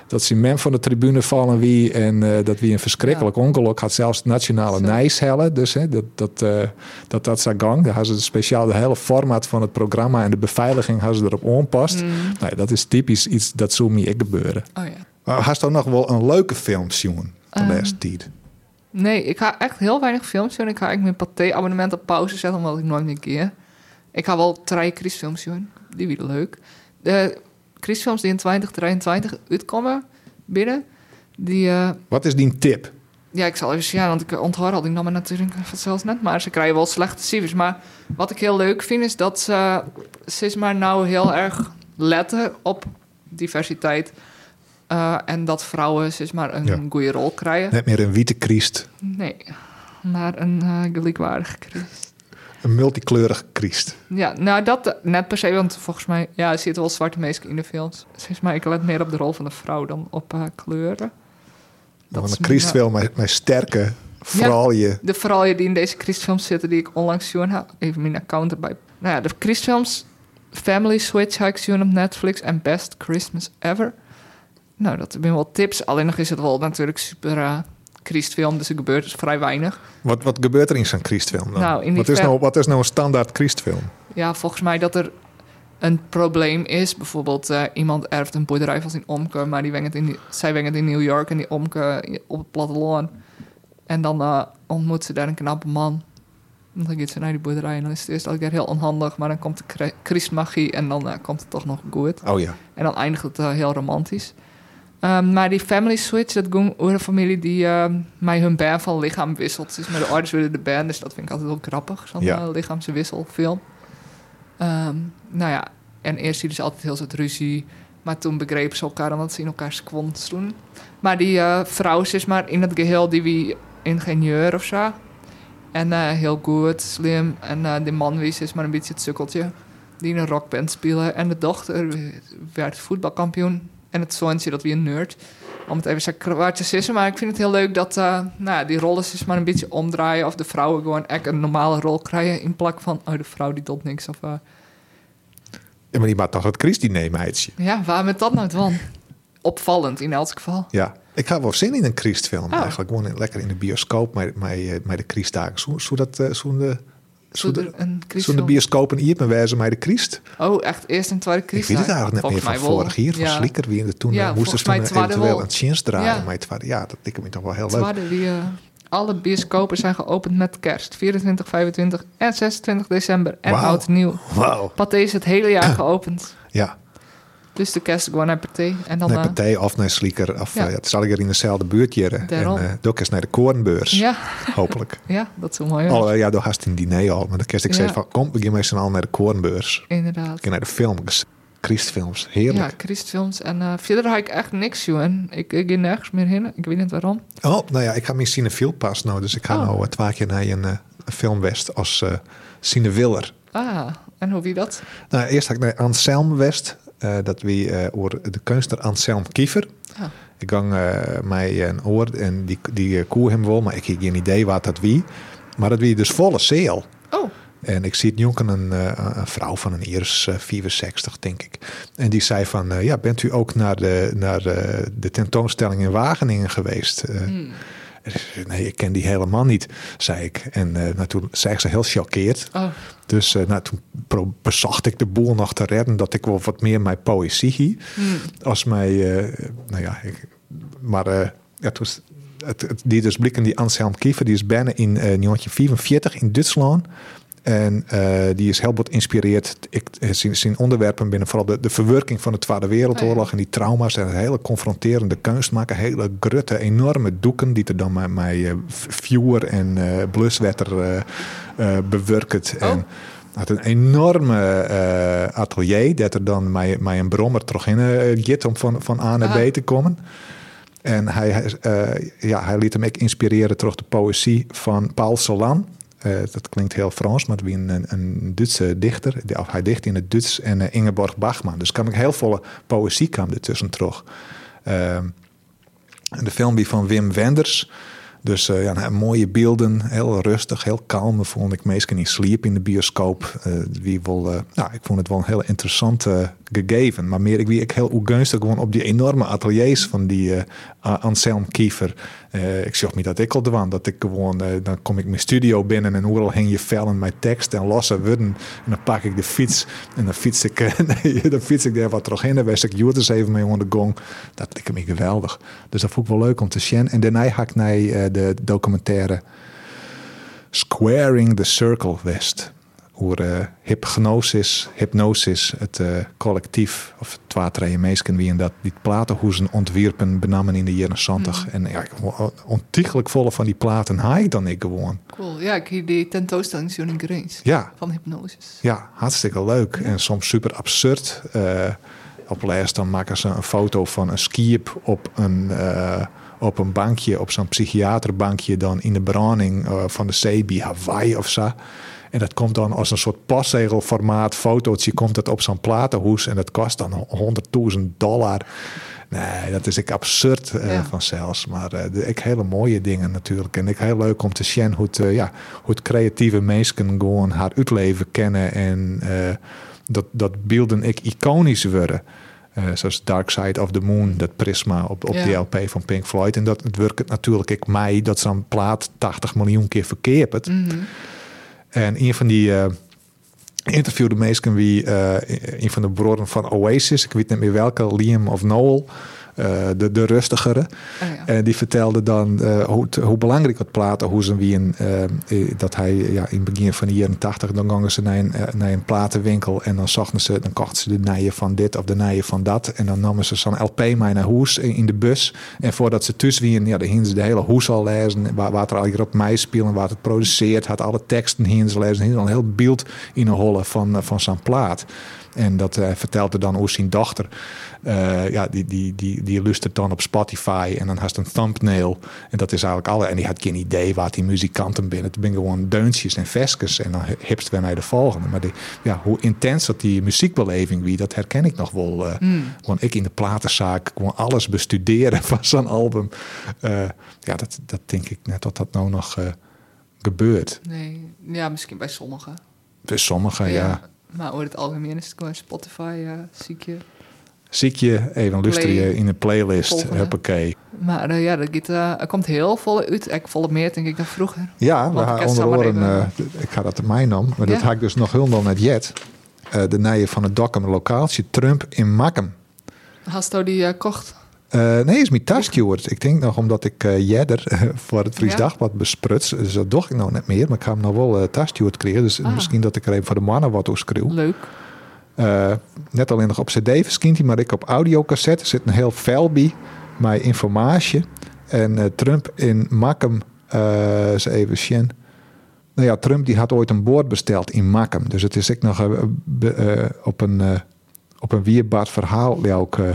Dat ze mem van de tribune vallen wie. En eh, dat wie een verschrikkelijk ongeluk had. Zelfs het nationale
Zo.
nijs hellen. Dus hè, dat, dat, eh dat dat zou gang. Daar hadden ze speciaal de hele formaat van het programma en de beveiliging hadden ze erop
Mm.
onpast. Nou, dat is typisch iets dat zo niet gebeuren.
Oh ja.
Maar Had je dan nog wel een leuke film zien de
Ehm.
laatste tijd?
Nee, ik ga echt heel weinig films doen. Ik ga eigenlijk mijn paté-abonnement op pauze zetten, omdat ik nooit meer keer. Ik ga wel drie Christfilms doen. Die weer leuk. De Christfilms die in 2023 uitkomen binnen, die... eh,
Wat is die tip?
ja, ik zal even zien, want ik eh, onthoor al die namen natuurlijk zelfs net. Maar ze krijgen wel slechte cijfers. Maar wat ik heel leuk vind, is dat ze, ze is maar nou heel erg letten op diversiteit. Eh, en dat vrouwen ze is maar een
Ja.
goede rol krijgen.
Net meer een witte kriest.
Nee, maar een eh gelijkwaardige crisis.
Een multikleurige kriest.
Ja, nou dat eh, net per se, want volgens mij ja, er zitten wel zwarte mensen in de films. Volgens mij, ik let meer op de rol van de vrouw dan op haar kleuren.
Want
is
een kriest
mijn-
wil mijn, mijn sterke vrouwje.
De vrouwen die in deze Christfilms zitten, die ik onlangs zien heb, even mijn account erbij. Nou ja, de Christfilms Family Switch heb ik zien op Netflix en Best Christmas Ever. Nou, dat zijn wel tips. Alleen nog is het wel natuurlijk super eh Christfilm, dus er gebeurt dus vrij weinig.
Wat, wat gebeurt er in zo'n kriestfilm dan?
Nou, in die
wat, is
ver-
nou, wat is nou een standaard kriestfilm?
Ja, volgens mij dat er een probleem is. Bijvoorbeeld, eh, iemand erft een boerderij van zijn omke, maar die wengt in, zij wengt in New York en die omke eh, op het platteland. En dan eh, ontmoet ze daar een knappe man. En dan gaat ze naar die boerderij en dan is het eerst elke keer heel onhandig, maar dan komt de kri- christmagie en dan eh, komt het toch nog goed.
Oh ja.
En dan eindigt het eh, heel romantisch. Ehm, maar die family switch, dat ging over een familie die ehm, mij hun band van lichaam wisselt. Dus met de ouders willen de band, dus dat vind ik altijd wel grappig. Zo'n
Ja.
eh, lichaamswisselfilm. Ehm, nou ja, en eerst zie je dus altijd heel soort ruzie. Maar toen begrepen ze elkaar omdat ze in elkaar squants doen. Maar die eh, vrouw is dus maar in het geheel die wie ingenieur of zo. En eh, heel goed, slim. En eh, die man wie is maar een beetje het sukkeltje die in een rockband spelen. En de dochter werd voetbalkampioen. En het zoontje, dat weer een nerd. om het even zo kwaad te zeggen. Maar ik vind het heel leuk dat eh, nou, ja, die rollen eens maar een beetje omdraaien. Of de vrouwen gewoon echt een normale rol krijgen. In plak van, oh, de vrouw die doet niks. Of, eh,
Ja, maar die maakt toch het Christi-neemheidje.
ja, waarom is dat nou dan? Opvallend in elk geval.
Ja. Ik had wel zin in een Christfilm
Oh.
eigenlijk. Gewoon in- lekker in de bioscoop met, met, eh, met de Christdagen. Zo, zo dat, eh, zo'n de, zo
Zo'n
de,
een
zo de
Christel-
bioscoop en Ierpen wijzen met de Christ.
Oh, echt eerst en tweede
Ik
crisis.
weet het eigenlijk net meer van vorig jaar. Van Slikker weer. En Toen
Ja,
eh, moesten
volgens
ze toen
mij
eh,
tweede
eventueel
wel.
een chance draaien.
Ja.
Maar het tweede- ja, dat ik me toch wel heel
Het
leuk.
waren die, eh, alle bioscopen zijn geopend met kerst. 24, 25 en 26 december. En
Wauw.
oud en nieuw.
Wauw.
Pathé is het hele jaar geopend.
Ja.
Dus de kerst gewoon naar Pathé. En dan...
Nee,
eh,
partij of naar Slieker. Of eh,
Ja.
ja. het zal ik er in dezelfde buurt jeren. En
Daarom.
eh ook eens naar de Koornbeurs.
ja,
Hopelijk.
ja, dat is wel mooi. hè?
Oh ja, daar had een diner al. Maar dan kerst ik
Ja.
steeds van, kom, we gaan met z'n allen naar de Koornbeurs.
Inderdaad.
Ik ga naar de films. Christfilms. Heerlijk.
Ja, Christfilms. En eh, verder had ik echt niks, jongen. Ik, ik ging nergens meer heen. Ik weet niet waarom.
Oh, nou ja, ik ga mijn cinefiel pas nou. Dus ik ga
Oh.
nou eh, twee keer naar een, eh, een filmwest als eh cinewiller.
Ah, en hoe wie dat?
Nou, eerst had ik naar Anselm West. eh, dat wie eh oor de kunstenaar Anselm Kiefer.
Ah.
Ik gang eh, mij een oor en die, die eh, koe hem wel, maar ik heb geen idee wat dat wie. Maar dat wie dus volle zeel.
Oh,
En ik zie het jonken een, eh, een vrouw van een Iers, eh, 64 denk ik. En die zei van, eh, ja, bent u ook naar de, naar eh, de tentoonstelling in Wageningen geweest? Eh, en ik zei, Nee, ik ken die helemaal niet, zei ik. En eh, nou, toen zei ze heel choqueerd.
oh.
Dus eh, nou, toen pro- bezacht ik de boel nog te redden dat ik wel wat meer mijn poëzie hie.
hmm,
Als mij, eh, nou ja, ik, maar eh, ja, toen is- het, het- die dus blikken, die Anselm Kiefer, die is bijna in eh 1944 in Duitsland. En eh, die is heel wat geïnspireerd. Ik, eh, zijn, zijn onderwerpen binnen vooral de, de verwerking van de Tweede Wereldoorlog
Oh ja.
en die trauma's en het hele confronterende kunst maken. Hele grutte, enorme doeken die er dan met mij eh vuur en eh bluswetter eh, eh, bewerkt.
Oh.
En had een enorme eh, atelier dat er dan met met een brommer terug in eh, gaat om van, van A naar
Ah.
B te komen. En hij, hij, eh, ja, hij liet hem ook inspireren door de poëzie van Paul Celan. Eh, dat klinkt heel Frans, maar het was een, een Duitse dichter. Die- Of hij dicht in het Duits en eh, Ingeborg Bachman. Dus kwam ik heel volle poëzie kwam ertussen terug. Ehm, en de film die van Wim Wenders. Dus eh, ja, nou, mooie beelden, heel rustig, heel kalm. Vond ik meestal niet sliep in de bioscoop. Eh, wie wel, eh, nou, ik vond het wel een heel interessant eh, gegeven. Maar meer, ik wie ik heel oegunstig gewoon op die enorme ateliers van die eh, A- Anselm Kiefer. Eh, ik zag me dat ik al dwan, dat ik gewoon, eh, dan kom ik mijn studio binnen en overal hing je vellen mijn tekst en losse woorden. En dan pak ik de fiets en dan fiets ik, eh, nee, dan fiets ik daar wat terug in. Dan was ik Joertes even mee onder de gong. Dat leek me geweldig. Dus dat vond ik wel leuk om te zien. En daarna ga ik naar eh, de documentaire Squaring the Circle West. Hoe eh, hypnosis, hypnosis, het eh, collectief, of twaatrijen mensen wie in dat, die platenhoezen ontwierpen, benamen in de jaren 70. En ja, ik word ontiegelijk volle van die platen haai ik dan ik gewoon.
Cool. Ja, ik hier die tentoonstelling zien in Grains.
Ja,
Van hypnosis.
ja, hartstikke leuk. En soms super absurd. Eh, op les dan maken ze een foto van een skiep op een, eh, op een bankje, op zo'n psychiaterbankje, dan in de branding eh, van de Sebi, Hawaii of zo. En dat komt dan als een soort postzegelformaat fotootje, komt dat op zo'n platenhoes en dat kost dan 100.000 dollar. Nee, dat is ik absurd eh,
Ja.
van zelfs. Maar eh, de- ik hele mooie dingen natuurlijk. En ik heel leuk om te zien hoe, het, eh, ja, hoe het creatieve mensen gewoon haar uitleven kennen. En eh, dat, dat beelden ik iconisch worden. Eh, zoals Dark Side of the Moon, dat prisma op, op
Ja.
die LP van Pink Floyd. En dat het werkt natuurlijk ik mij dat zo'n plaat 80 miljoen keer verkeerd.
Mhm.
En een van die eh interviewde meesken wie eh, een van de broren van Oasis, ik weet niet meer welke, Liam of Noel, eh, de, de rustigere.
Oh, ja.
En die vertelde dan eh, hoe, het- hoe belangrijk het platenhoezen wie een, eh, eh, dat hij ja, in het begin van de jaren 80 dan gingen ze naar een, eh, naar een platenwinkel en dan zochten ze, dan kochten ze de nijen van dit of de nijen van dat en dan namen ze zo'n LP mee naar huis in, in de bus en voordat ze thuis wien, ja, dan hingen ze de hele hoes al lezen, waar, waar er al hier op mij spelen, waar het produceert, had alle teksten hingen ze lezen, hingen ze al een heel beeld in de holle van, eh, van zo'n plaat. En dat eh, vertelde dan over zijn dochter. Eh, ja, die, die, die, die luistert dan op Spotify en dan haast een thumbnail. En dat is eigenlijk alle. En die had geen idee waar die muzikanten binnen. Het zijn gewoon deuntjes en veskes. En dan hipst weer naar de volgende. Maar die, ja, hoe intens dat die muziekbeleving wie, dat herken ik nog wel. eh
Hmm.
Want ik in de platenzaak gewoon alles bestuderen van zo'n album. Eh, ja, dat, dat denk ik net dat dat nou nog eh, gebeurt.
Nee, ja, misschien bij sommigen.
Bij sommigen, Ah, ja.
Maar over het algemeen is het gewoon Spotify, ja, zie ik je.
Ziek je, even luister je
Play.
in een playlist.
Volgende.
Huppakee.
Maar eh, ja, dat gaat, eh, er komt heel vol uit. Ik volle meer, denk ik, dan vroeger.
Ja, we
Want
gaan
ik
onder
zou maar
oren,
even-
eh, ik ga dat mij nam, maar dat
Ja.
haak ik dus nog helemaal net jet. Eh, de nijen van het Dokkum lokaaltje Trump in Makkum.
Hasto die eh, kocht.
Eh, nee, is mijn taskkeyword. Ik denk nog omdat ik eh jedder eh, voor het Fries
Ja.
Dagblad bespruts. Dus dat doe ik nou net meer. Maar ik ga hem nou wel eh taskkeyword creëren. Dus
Ah.
misschien dat ik er even voor de mannen wat door schreeuw.
Leuk.
Eh, net alleen nog op cd verschijnt hij, maar ik op audiocassette. Er zit een heel fel bij, mijn informatie. En eh, Trump in Makkum, eh, eens even zien. Nou ja, Trump die had ooit een boord besteld in Makkum. Dus het is ik nog eh, be- eh, op een, eh op een wierbaard verhaal die ook eh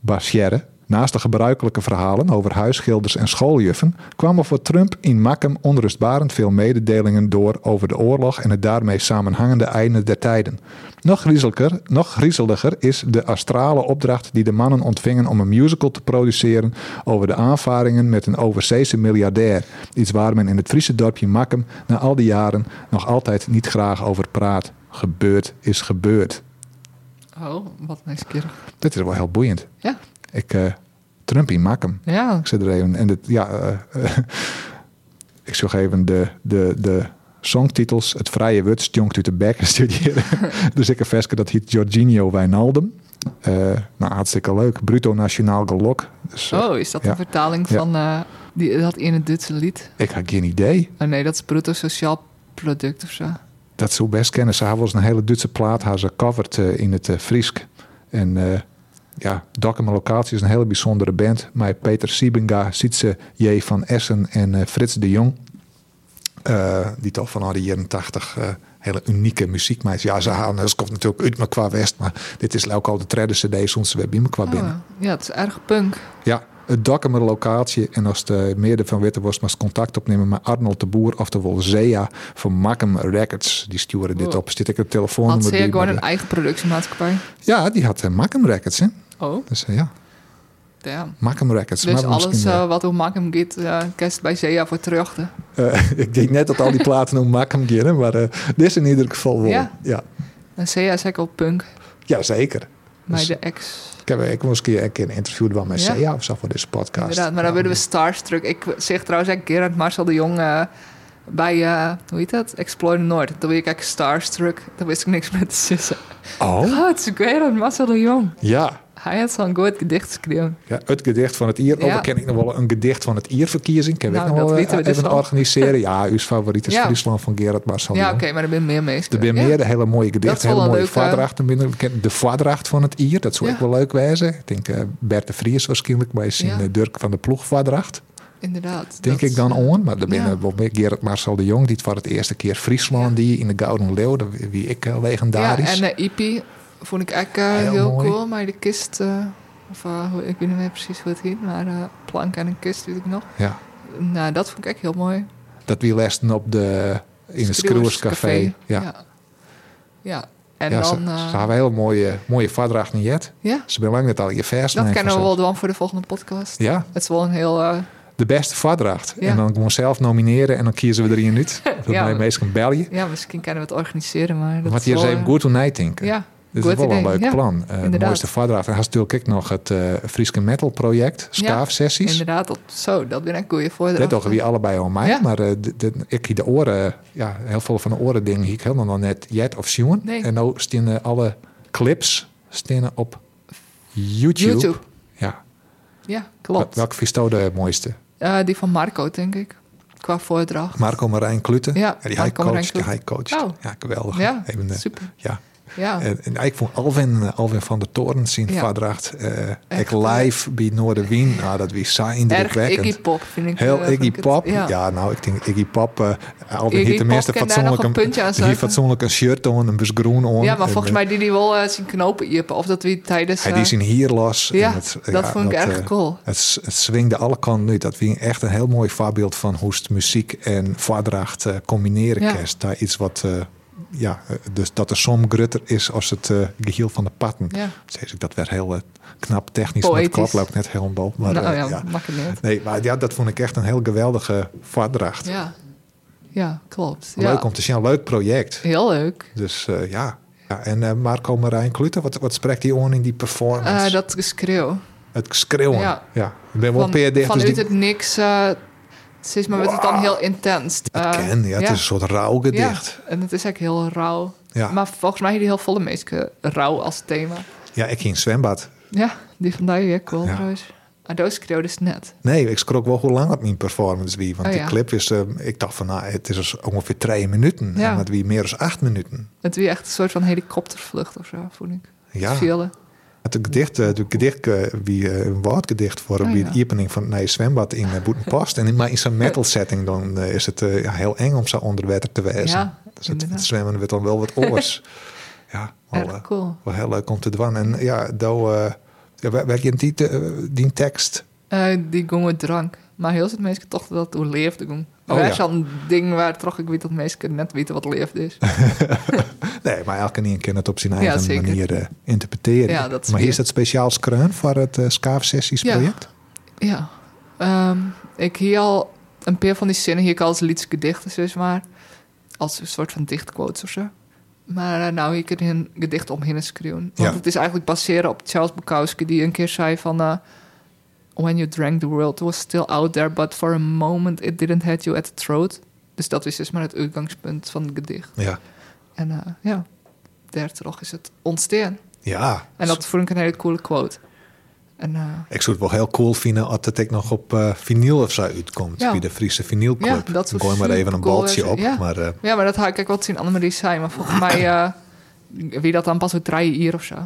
basjeren. Naast de gebruikelijke verhalen over huisschilders en schooljuffen kwamen voor Trump in Makkum onrustbarend veel mededelingen door over de oorlog en het daarmee samenhangende einde der tijden. Nog griezeliger, nog griezeliger is de astrale opdracht die de mannen ontvingen om een musical te produceren over de aanvaringen met een overzeese miljardair. Iets waar men in het Friese dorpje Makkum na al die jaren nog altijd niet graag over praat. Gebeurd is gebeurd.
Oh, wat nieuwsgierig.
Dit is wel heel boeiend.
Ja.
Ik, eh Trump in Makkum.
Ja,
Ik zit er even. En dit, ja, eh, eh, ik zoek even de, de, de songtitels. Het vrije woord stjonkt uit de bek studeren. dus ik een veske dat heet Jorginho Wijnaldum. Eh, nou, hartstikke leuk. Bruto Nationaal Galok. Dus, eh,
Oh, is dat
Ja.
een vertaling
Ja.
van eh, die, dat ene Duitse lied?
Ik had geen idee.
Oh nee, dat is bruto sociaal product of zo.
Dat zou best kennen. Ze hebben een hele Duitse plaat haar ze covered eh, in het eh, Friesk. En eh ja, Dokkum Locatie is een hele bijzondere band. Met Peter Siebenga, Sietse J. van Essen en eh, Frits de Jong. Eh, die toch van al die jaren 80 eh, hele unieke muziek maakt. Ja, ze halen, dat komt natuurlijk uit me qua West. Maar dit is ook al de tredde CD, soms weer bij me qua binnen.
Oh, ja, het is erg punk.
Ja, het dak en een locatie. En als de meerder van Witte was, maar contact opnemen met Arnold de Boer, oftewel Zea van Makkum Records. Die sturen dit
Oh.
op. Zit ik het
Had
telefoonnummer
ze
bij,
gewoon
maar
een
de-
eigen productiemaatschappij?
Ja, die had eh, Makkum Records, hè?
Oh,
Dus eh, ja,
damn.
Makkum Records.
Dus
Maar
alles
misschien, eh,
eh, wat om Makkum gaat, eh kerst bij Zea voor terug. hè?
eh, ik denk net dat al die platen om Makkum gingen, maar eh, dit is in ieder geval wel.
Ja.
Ja.
En Zea is ook al punk,
Ja, zeker.
maar
Dus-
de ex.
Ik heb ik was een keer een keer een interview gedaan met
Ja.
Zea of zo voor deze podcast.
Inderdaad, maar dan
Ja,
worden we starstruck. Ik zeg trouwens een keer aan Marcel de Jong eh, bij, eh, hoe heet dat? Explore Noord. Toen werd ik echt starstruck. Daar wist ik niks meer te zeggen.
Oh,
Oh, het is great aan Marcel de Jong.
ja.
Hij had zo'n goed gedicht geschreven.
Ja, het gedicht van het Ier. Oh,
Ja.
dan ken ik nog wel een gedicht van het Ierverkiezing. Ken
Nou,
ik nog
dat
wel eh,
weten we dus
even
wel.
organiseren. Ja, uw favoriet is
Ja.
Friesland van Gerard Marcel. de
Ja,
Jong.
oké, maar er zijn meer
Oh, Er
mensen.
zijn
Ja.
meer hele mooie
Dat is
gedichten,
wel
hele
een
mooie
leuke-
vadrachten. binnen. Ik ken De vadracht van het Ier, dat zou
Ja.
ik wel leuk wijzen. Ik denk eh Bert de Vries waarschijnlijk bij zijn
Ja.
eh, Dirk van de Ploeg vadracht.
Inderdaad.
Denk
dat-
ik dan aan. Maar er binnen
ja.
wel meer Gerard Marcel de Jong, die het voor het eerste keer Friesland, die in de Gouden Leeuw, dat wie ik eh,
Ja,
legendarisch.
en de IP vond ik echt eh,
Heel
heel,
mooi.
cool. Maar de kist, eh, of eh, hoe- ik weet niet meer precies hoe het heet, maar eh, plank en een kist weet ik nog.
ja.
Nou, dat vond ik echt heel mooi.
Dat wie lesten op de, in het Screwers
Screwers
Ja.
ja. Ja, En
ja,
dan...
ze,
eh,
ze hebben hele mooie, mooie vadrachten jet.
ja,
Ze belangen het al je vers.
dat
nemen
kennen we wel
vanzelf.
dan voor de volgende podcast.
Ja,
Het is wel een heel... eh,
de beste vadracht.
Ja.
En dan gewoon zelf nomineren en dan kiezen we er een uit. Dat
Ja.
mij meestal bel je.
ja, misschien kunnen we het organiseren, maar... Dat
Want
is
hier
wel,
zijn
eh,
goed hoe nijdenken.
Ja,
Dit Dus is
goed
wel een
idee.
leuk
Ja,
plan. Eh de
inderdaad.
mooiste vadracht. En had natuurlijk ook nog het eh Frieske Metal project, Skaafsessies.
inderdaad. Dat, zo, dat ben ik goede voordracht.
dit toch weer allebei al mij.
Ja.
Maar eh, dit- dit- ik hier de oren, ja, heel veel van de oren dingen hier helemaal nog net jet of zien.
Nee.
En nu stinnen alle clips stinnen op YouTube.
YouTube.
Ja.
Ja, klopt.
Welke vies jou de mooiste?
Eh, die van Marco, denk ik. Qua voordracht.
Marco Marijn Kluten.
Ja,
die hij
Marco Marijn
coacht. die
Kluten.
hij coacht.
Oh.
Ja, geweldig.
Ja,
Even, eh,
super.
ja.
Ja.
En, en ik vond Alwin, eh, Alwin van de Toren zien
Ja.
vadracht. eh, ik
Echt,
live bij Noorderwien. Nou, dat was saai
Erg
indrukwekkend.
Iggy Pop, vind ik. eh,
Heel
vind
Iggy
ik het-
Pop.
ja.
Ja. nou, ik denk Iggy Pop. eh Alwin
Iggy
heeft tenminste
Pop kan daar nog
fatsoenlijk
een puntje aan
een, die
zuigen.
fatsoenlijk een shirt aan, een bus groen aan.
Ja, maar
En,
volgens
eh,
mij die die wel eh, zien knopen iepen. Of dat wie tijdens...
Hij
eh,
die zijn hier los.
ja,
en het,
dat vond ik erg
eh,
cool.
Het, s- het swingde alle kanten uit. Dat vind ik echt een heel mooi voorbeeld van hoe het muziek en voordracht eh, combineren
Ja.
kerst. Daar iets wat, eh, ja, eh, dus dat de som grutter is als het eh, geheel van de patten.
Ja.
Zeg ik dat werd heel eh, knap technisch.
Poëtisch.
Met klap loopt net heel bal. Maar,
nou
eh,
ja,
ja.
makkelijk niet.
Nee, maar ja, dat vond ik echt een heel geweldige voordracht.
Ja. ja, klopt. Ja.
Leuk om te zien, een leuk project.
Heel leuk.
Dus eh, ja. ja. En eh, Marco Marijn Klute, wat, wat spreekt die on in die performance?
Eh, dat geschreeuw.
Het schreeuwen.
Ja.
Ja. Ik ben wel
Van,
een peer dicht,
vanuit
dus die-
het niks... eh het is maar met het dan heel intens.
dat
Eh,
ken. Ja, het
ja.
is een soort rauw gedicht.
Ja, en het is eigenlijk heel rauw.
Ja.
Maar volgens mij hebben die heel volle meesten rauw als thema.
Ja. ik ging in het zwembad.
Ja, die vandaag weer cool
Ja.
trouwens. Maar dat schreeuw dus net.
Nee, ik schrok wel hoe lang het mijn performance wie. Want
Oh,
die
ja.
clip is, eh, ik dacht van, nou, het is dus ongeveer twee minuten.
Ja.
En het wie meer dan acht minuten.
Het was echt een soort van helikoptervlucht of zo, voel ik.
Ja.
Vielen.
Het gedicht, eh, het gedicht eh, wie eh, een woordgedicht voor
Oh,
wie
ja.
de opening van het nieuwe zwembad in uh, Boetenpast. en in, maar in zo'n metal setting dan eh, is het eh, ja, heel eng om zo onder water te wezen.
Ja,
dus het,
inderdaad.
het zwemmen werd dan wel wat oors. ja, wel, eh,
Erg cool.
wel heel leuk om te doen. En ja, do, eh ja, wij- wij kennen die, te- eh, die tekst.
Eh, die gongen drank. Maar heel veel mensen toch dat hoe leefde gong.
Oh,
Oh, dat
ja.
is al een ding waar toch ik weet dat mensen net weten wat leefde is.
Nee, maar elke een kan het op zijn eigen
zeker.
manier eh, interpreteren.
Ja, dat is
maar hier
weer-
is dat speciaal skreun voor het eh Skaafsessies
Ja.
project.
Ja. Ehm, ik hier al een paar van die zinnen hier ik al als liedse gedichten, dus maar. Als een soort van dichtquotes of zo. Maar eh, nou, hier kun je een gedicht omheen schreeuwen. Want
Ja.
het is eigenlijk baseren op Charles Bukowski, die een keer zei van... eh, When you drank the world was still out there, but for a moment it didn't hit you at the throat. Dus dat is dus maar het uitgangspunt van het gedicht.
Ja.
En eh, ja, daardoor is het ontstaan.
Ja.
En dat vond ik een hele coole quote. En eh,
Ik zou het wel heel cool vinden als het ook nog op eh vinyl of zo uitkomt.
Ja.
Bij de Friese vinylclub.
Ja, dat zou
Gooi maar even een
supercool
baltje
zijn,
op.
ja.
Maar eh,
Ja, maar dat had ik ook wat zien Annemarie zei. Maar volgens mij, eh, wie dat dan pas uit draaien hier of zo.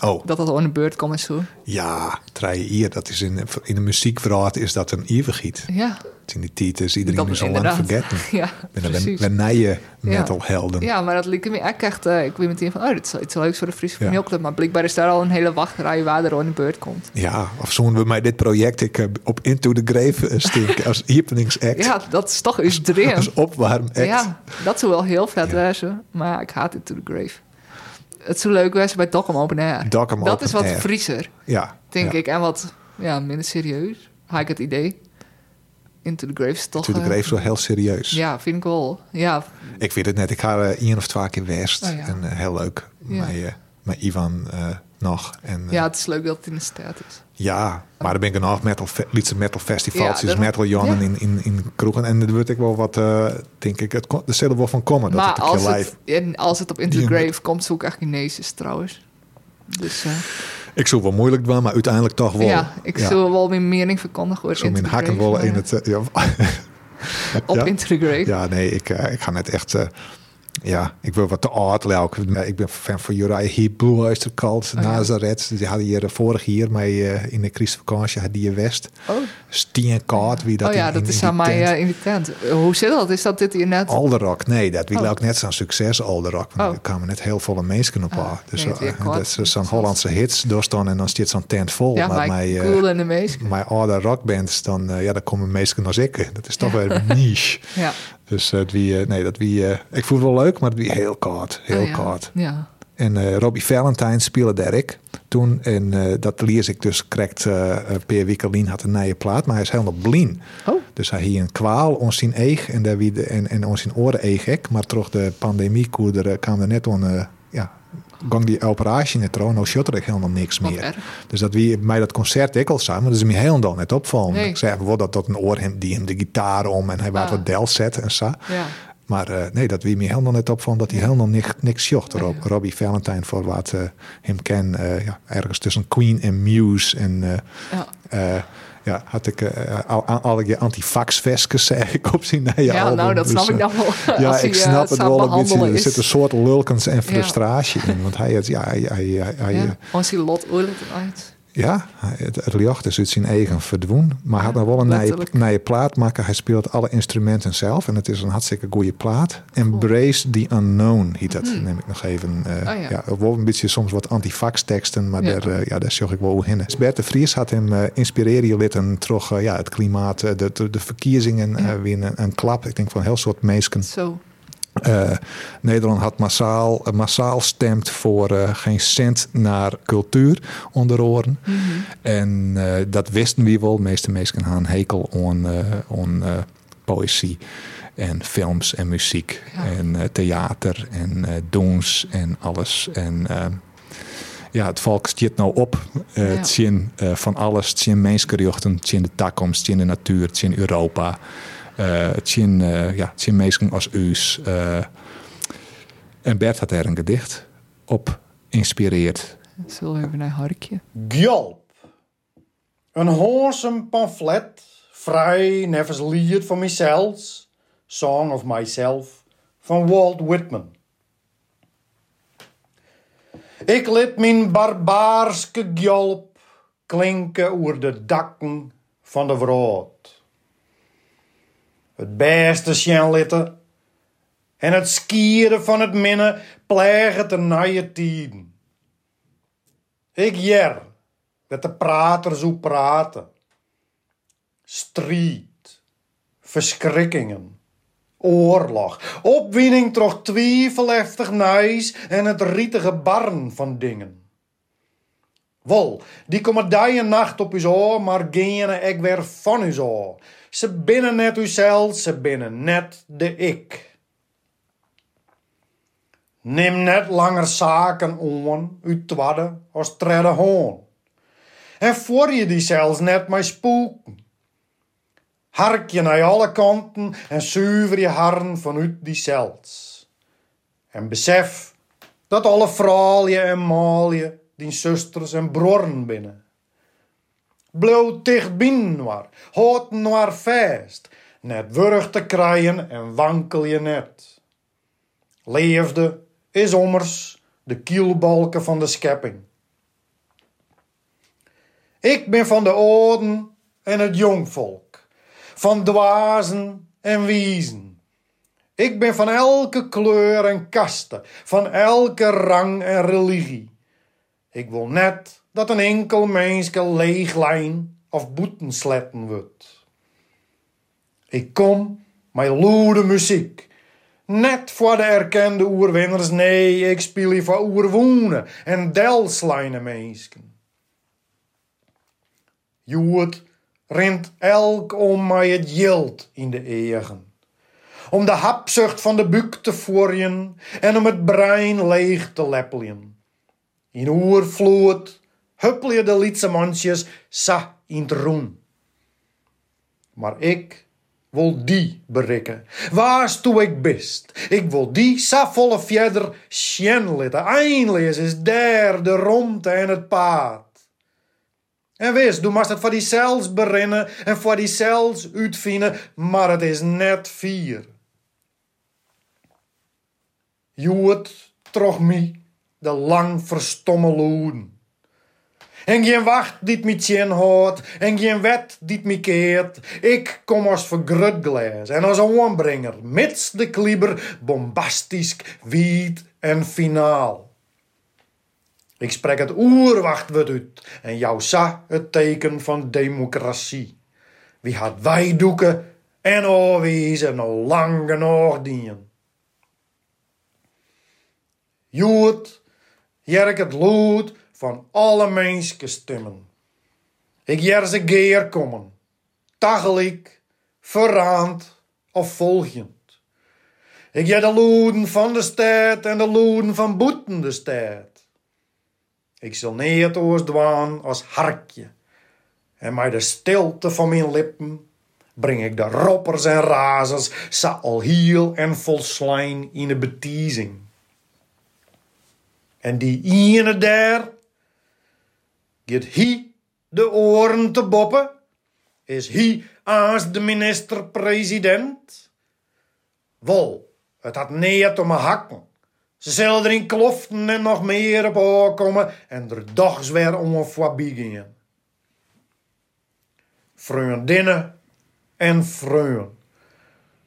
oh,
Dat dat al in de beurt komt en zo.
ja, Treien Ier. Dat is in, in de muziekverhaal is dat een eeuwigheid.
Ja,
In die tijd is iedereen
dat
nu
is
zo lang
inderdaad.
vergeten.
ja,
Binnen we-
precies.
we nije metalhelden.
Ja, maar dat liep me ook echt... eh, ik weet meteen van, oh, dit is wel iets leuks voor de Friese
Ja.
Vanilclub. Maar blijkbaar is daar al een hele wachtrij waar er al in de beurt komt.
Ja, of zullen we mij dit project ik, eh, op Into the Grave eh, stinken als openingsact?
Ja, dat is toch eens dream.
Als opwarmact.
Ja, dat zou wel heel vet
Ja.
wezen. Maar ik haat dit to the grave. Het zou leuk wezen bij Dokkum Open Air.
Dokkum
dat
Open
is wat
Air.
vriezer,
Ja,
denk
ja.
ik. En wat ja, minder serieus, had ik het idee. Into the Grave is toch...
Into the
eh,
Grave is wel heel serieus.
Ja, vind ik wel. Ja,
Ik weet het net. Ik ga eh één of twee keer West.
Oh, ja.
En eh, heel leuk.
Ja.
Met, eh, met Ivan eh, nog. En, eh,
ja, het is leuk dat het in de stad is.
Ja, maar er ben ik een half metal, fe- lietse metal
Ja,
festivals, dus
daarom.
metal jonnen
Ja.
in, in, in kroegen. En er wordt ik wel wat, eh, denk ik, het, kon- er zullen wel van komen. Dat
maar
het een
als
keer live.
het, en als het op Into the
Ja, maar-
Grave komt, zoek ik echt Chinees trouwens. Dus eh,
Ik zou wel moeilijk doen, maar uiteindelijk toch wel.
ja, ik zou wel mijn mening verkondigen over
Ik zou
Into
mijn
the Grave,
hakken wel in
maar,
het. eh, ja,
eh, Op
ja.
Into the Grave.
ja, nee, ik, eh, ik ga net echt. eh, ja, ik wil wat te oud, Leo. Ik ben fan van Uriah Heep, Blue Oyster Cult,
Oh, ja.
Nazareth. Die hadden hier eh, vorig jaar mee eh, in de Christenvakantie, hadden die West.
Oh.
Steen Card, wie dat
oh ja,
in-
dat
in
is
die
aan mij
tent- Oh,
eh, in die tent. Eh, hoe zit dat? Is dat dit hier net?
Alderok, nee, dat wil
Oh.
ook net zo'n succes, Alderok. Want
Oh.
er kwamen net heel veel mensen op
Ah,
aan. Dus
nee,
eh,
weer kwart.
dat is zo'n Hollandse hits doorstaan en dan zit zo'n tent vol.
ja,
maar
maar
mijn, eh,
cool en de meest.
mijn oude oh, rockbands, dan, eh, ja, daar komen mensen als ik. Dat is toch wel een niche.
Ja.
Dus eh, het wie, eh, nee, dat wie, eh, ik voel het wel leuk, maar het wie heel koud. Heel
Ah, ja.
koud.
Ja.
En eh, Robbie Valentine speelde Derek toen. En eh, dat lees ik dus correct. eh eh, Peer Wikkelien had een nieuwe plaat, maar hij is helemaal blind.
Oh.
Dus hij hier een kwaal, ons zien eeg en, daar wie de, en, en ons zien oren eeg ek. Maar toch de pandemie koer er, eh, kwam er net aan. eh, ja, gang die operatie net trouw, nou shot er helemaal niks
Wat
meer.
erg.
Dus dat wie mij dat concert ik al samen, dat is me helemaal net opvallen.
Nee.
Ik zei wel dat dat een oor hem die hem de gitaar om en hij waard
Ah.
wat del zet en zo.
Ja.
Maar eh, nee, dat wie me helemaal net op vond, dat hij helemaal niks, niks zocht.
Nee.
Rob, Robbie Valentine, voor wat eh, hem ken, eh, ja, ergens tussen Queen en Muse. En
Ja.
eh, eh, ja, had ik eh, al, al- alle je antifax-vestjes zei ik op zijn
Ja,
nieuwe album.
nou, dat
Dus,
snap
eh,
ik dan wel.
ja,
als
ik
hij, eh,
snap het
zou
wel een
behandelen
beetje. Er
is.
zit een soort lulkens en frustratie in. Want hij, het- ja, hij, hij, hij, hij-
Ja, Oh, als hij lot oorlog uit.
ja, het, het licht is uit zijn eigen verdwoen. Maar hij had nog wel een nije,
letterlijk.
nije plaat maken. Hij speelt alle instrumenten zelf. En het is een hartstikke goede plaat. Embrace the Unknown heet dat. Neem ik nog even. eh
Mhm. Oh, ja.
ja. wel een beetje soms wat antifax teksten. Maar
Ja.
daar, eh, ja, daar zorg ik wel in. Dus Bert de Vries had hem eh inspireren litten. Toch ja, het klimaat, eh, de, de, de verkiezingen. eh, weer een, een klap. Ik denk van heel soort mensen.
Zo.
Eh, Nederland had massaal, eh, massaal stemt voor eh, geen cent naar cultuur onder oren.
Mhm.
En eh, dat wisten we wel. De meeste mensen gaan hekel aan, eh, aan, eh, poëzie en films en muziek
Ja.
en eh, theater en eh dons en alles. En eh, ja, het volk stiet nou op. eh
Ja.
Tjin eh, van alles, tjin mensenrechten, tjin de takkomst, tjin de natuur, tjin Europa. eh tjin, eh, ja, tjin mensen als u's. eh. en Bert had er een gedicht op inspireerd.
Zullen we even naar Harkje?
Gjolp. Een hoorsom pamflet, vrij nevens lied van mijzelf, Song of Myself, van Walt Whitman. Ik liet mijn barbaarske gjolp klinken oer de dakken van de wrood. Het beste sjenlitte en het skieren van het minne plegen de nije tiden. Ik jer dat de prater zo praten. Strijd, verschrikkingen, oorlog, opwinning troch twijfelheftig nijs en het rietige barn van dingen. Wol, die komen dag en nacht op uw oor, maar gene ik weer van uw oor. Ze binnen net uzelf, ze binnen net de ik. Neem net langer zaken aan, u twadde als tredde hoorn. En voor je die zelfs net mij spoeken. Hark je naar alle kanten en zuiver je harn vanuit die zelfs. En besef dat alle vrouwen en malje die zusters en broren binnen. Bloot dicht binnen waar, hoort waar vast, net wurg te krijgen en wankel je net leefde, is ommers de kielbalken van de schepping. Ik ben van de oden en het jongvolk, van dwazen en wiezen. Ik ben van elke kleur en kaste, van elke rang en religie. Ik wil net dat een enkel mensje leeglijn of boetensletten wordt. Ik kom met loede muziek, Net voor de erkende oerwinners, nee, ik speel hier voor oerwoenen en delslijne mensen. Joert rint elk om mij het jilt in de egen. Om de hapzucht van de buik te voorjen en om het brein leeg te leppelen. In oervloed huppel je de lietse mansjes sa in het roen. Maar ik wil die berikken. Waarstoe ik best. Ik wil die saffolle fjeder sjenlitten. Eindelijk is daar de romte en het paard. En wist, doe mast het voor die zelfs berinnen en voor die zelfs uitvinden, maar het is net vier. Joet troch mij de lang verstomme loeden. En geen wacht die me tjen houdt. En geen wet die me keert. Ik kom als vergrutglaas en als aanbrenger. Mits de klieber bombastisch, wiet en finaal. Ik spreek het oerwachtwoord uit. En jou sa het teken van democratie. Wie had wij doeken en oorwezen al lang genoeg dienen. Joet jerk het lood van alle menske stemmen. Ik jer ze geer komen, tagelijk, verraand of volgend. Ik jer de loeden van de stad en de loeden van boeten de stad. Ik zal neer oors dwaan als harkje en mij de stilte van mijn lippen breng ik de roppers en razers, sa al heel en volslijn in de betiezing. En die ene daar, get hij de oren te boppen, is hij als de minister-president. Wol, het had neer om me hakken. Ze zullen er in kloften en nog meer op oorkomen en er dogs weer om een voorbij gingen. Vriendinnen en vrienden.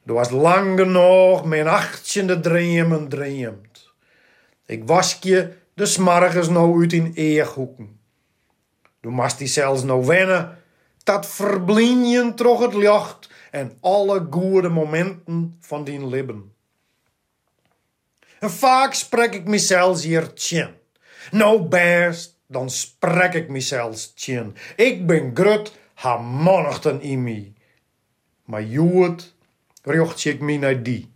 Er was lang genoeg mijn achtjende dreamen dreamt. Ik was je de smargens nou uit in eerhoeken. Du mast die zelfs nou wennen, dat verblinjen troch het licht en alle goede momenten van dien libben. En vaak spreek ik mezelf hier tjen. Nou best, dan spreek ik mezelf tjen. Ik ben grut, hamonnichten in mij. Maar joet, rjocht ik mij naar die.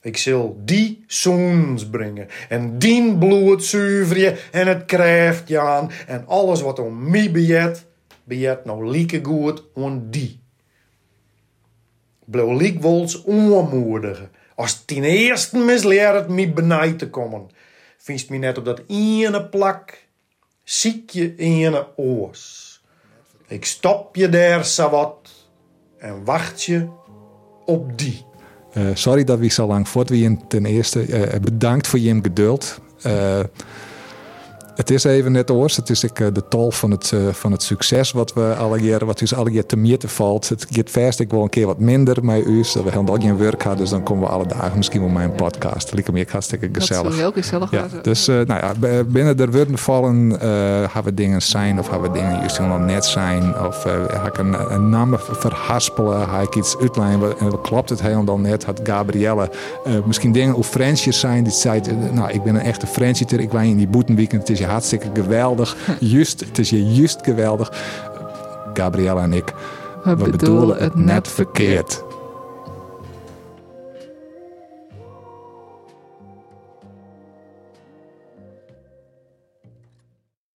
Ik zal die zoens brengen en dien bloed zuiveren en het krijft je aan. En alles wat om mij bejet, bejet nou lieke goed on die. Blew liek wols onmoedigen. Als ten eerste misleer het mij benij te komen. Vinst mij net op dat ene plak, ziek je ene oors. Ik stop je daar sawat en wacht je op die.
Eh, sorry dat we zo lang voort waren. Ten eerste eh, bedankt voor je geduld. Eh, het is even net oors. Het is ik, eh, de tol van het, eh, van het succes wat we alle jaren, wat dus alle keer te meer te valt. Het gaat vast ik wil een keer wat minder met u. zodat We hebben al geen werk gehad, dus dan komen we alle dagen misschien op mijn podcast. Lieke me ik hartstikke
Dat
gezellig.
is heel gezellig.
Ja,
worden.
dus eh, nou ja, b- binnen de woorden vallen, eh hebben we dingen zijn of hebben we dingen juist helemaal net zijn. Of eh heb ik een, een naam verhaspelen, heb ik iets uitlijnen en wat klopt het helemaal net. Had Gabrielle eh, misschien dingen of Fransjes zijn die zei, eh, nou ik ben een echte Fransjeter, ik wijn in die boetenweekend, het is je hartstikke geweldig. Juist, het is je juist geweldig. Gabrielle en ik,
We bedoelen het net verkeerd.
verkeerd.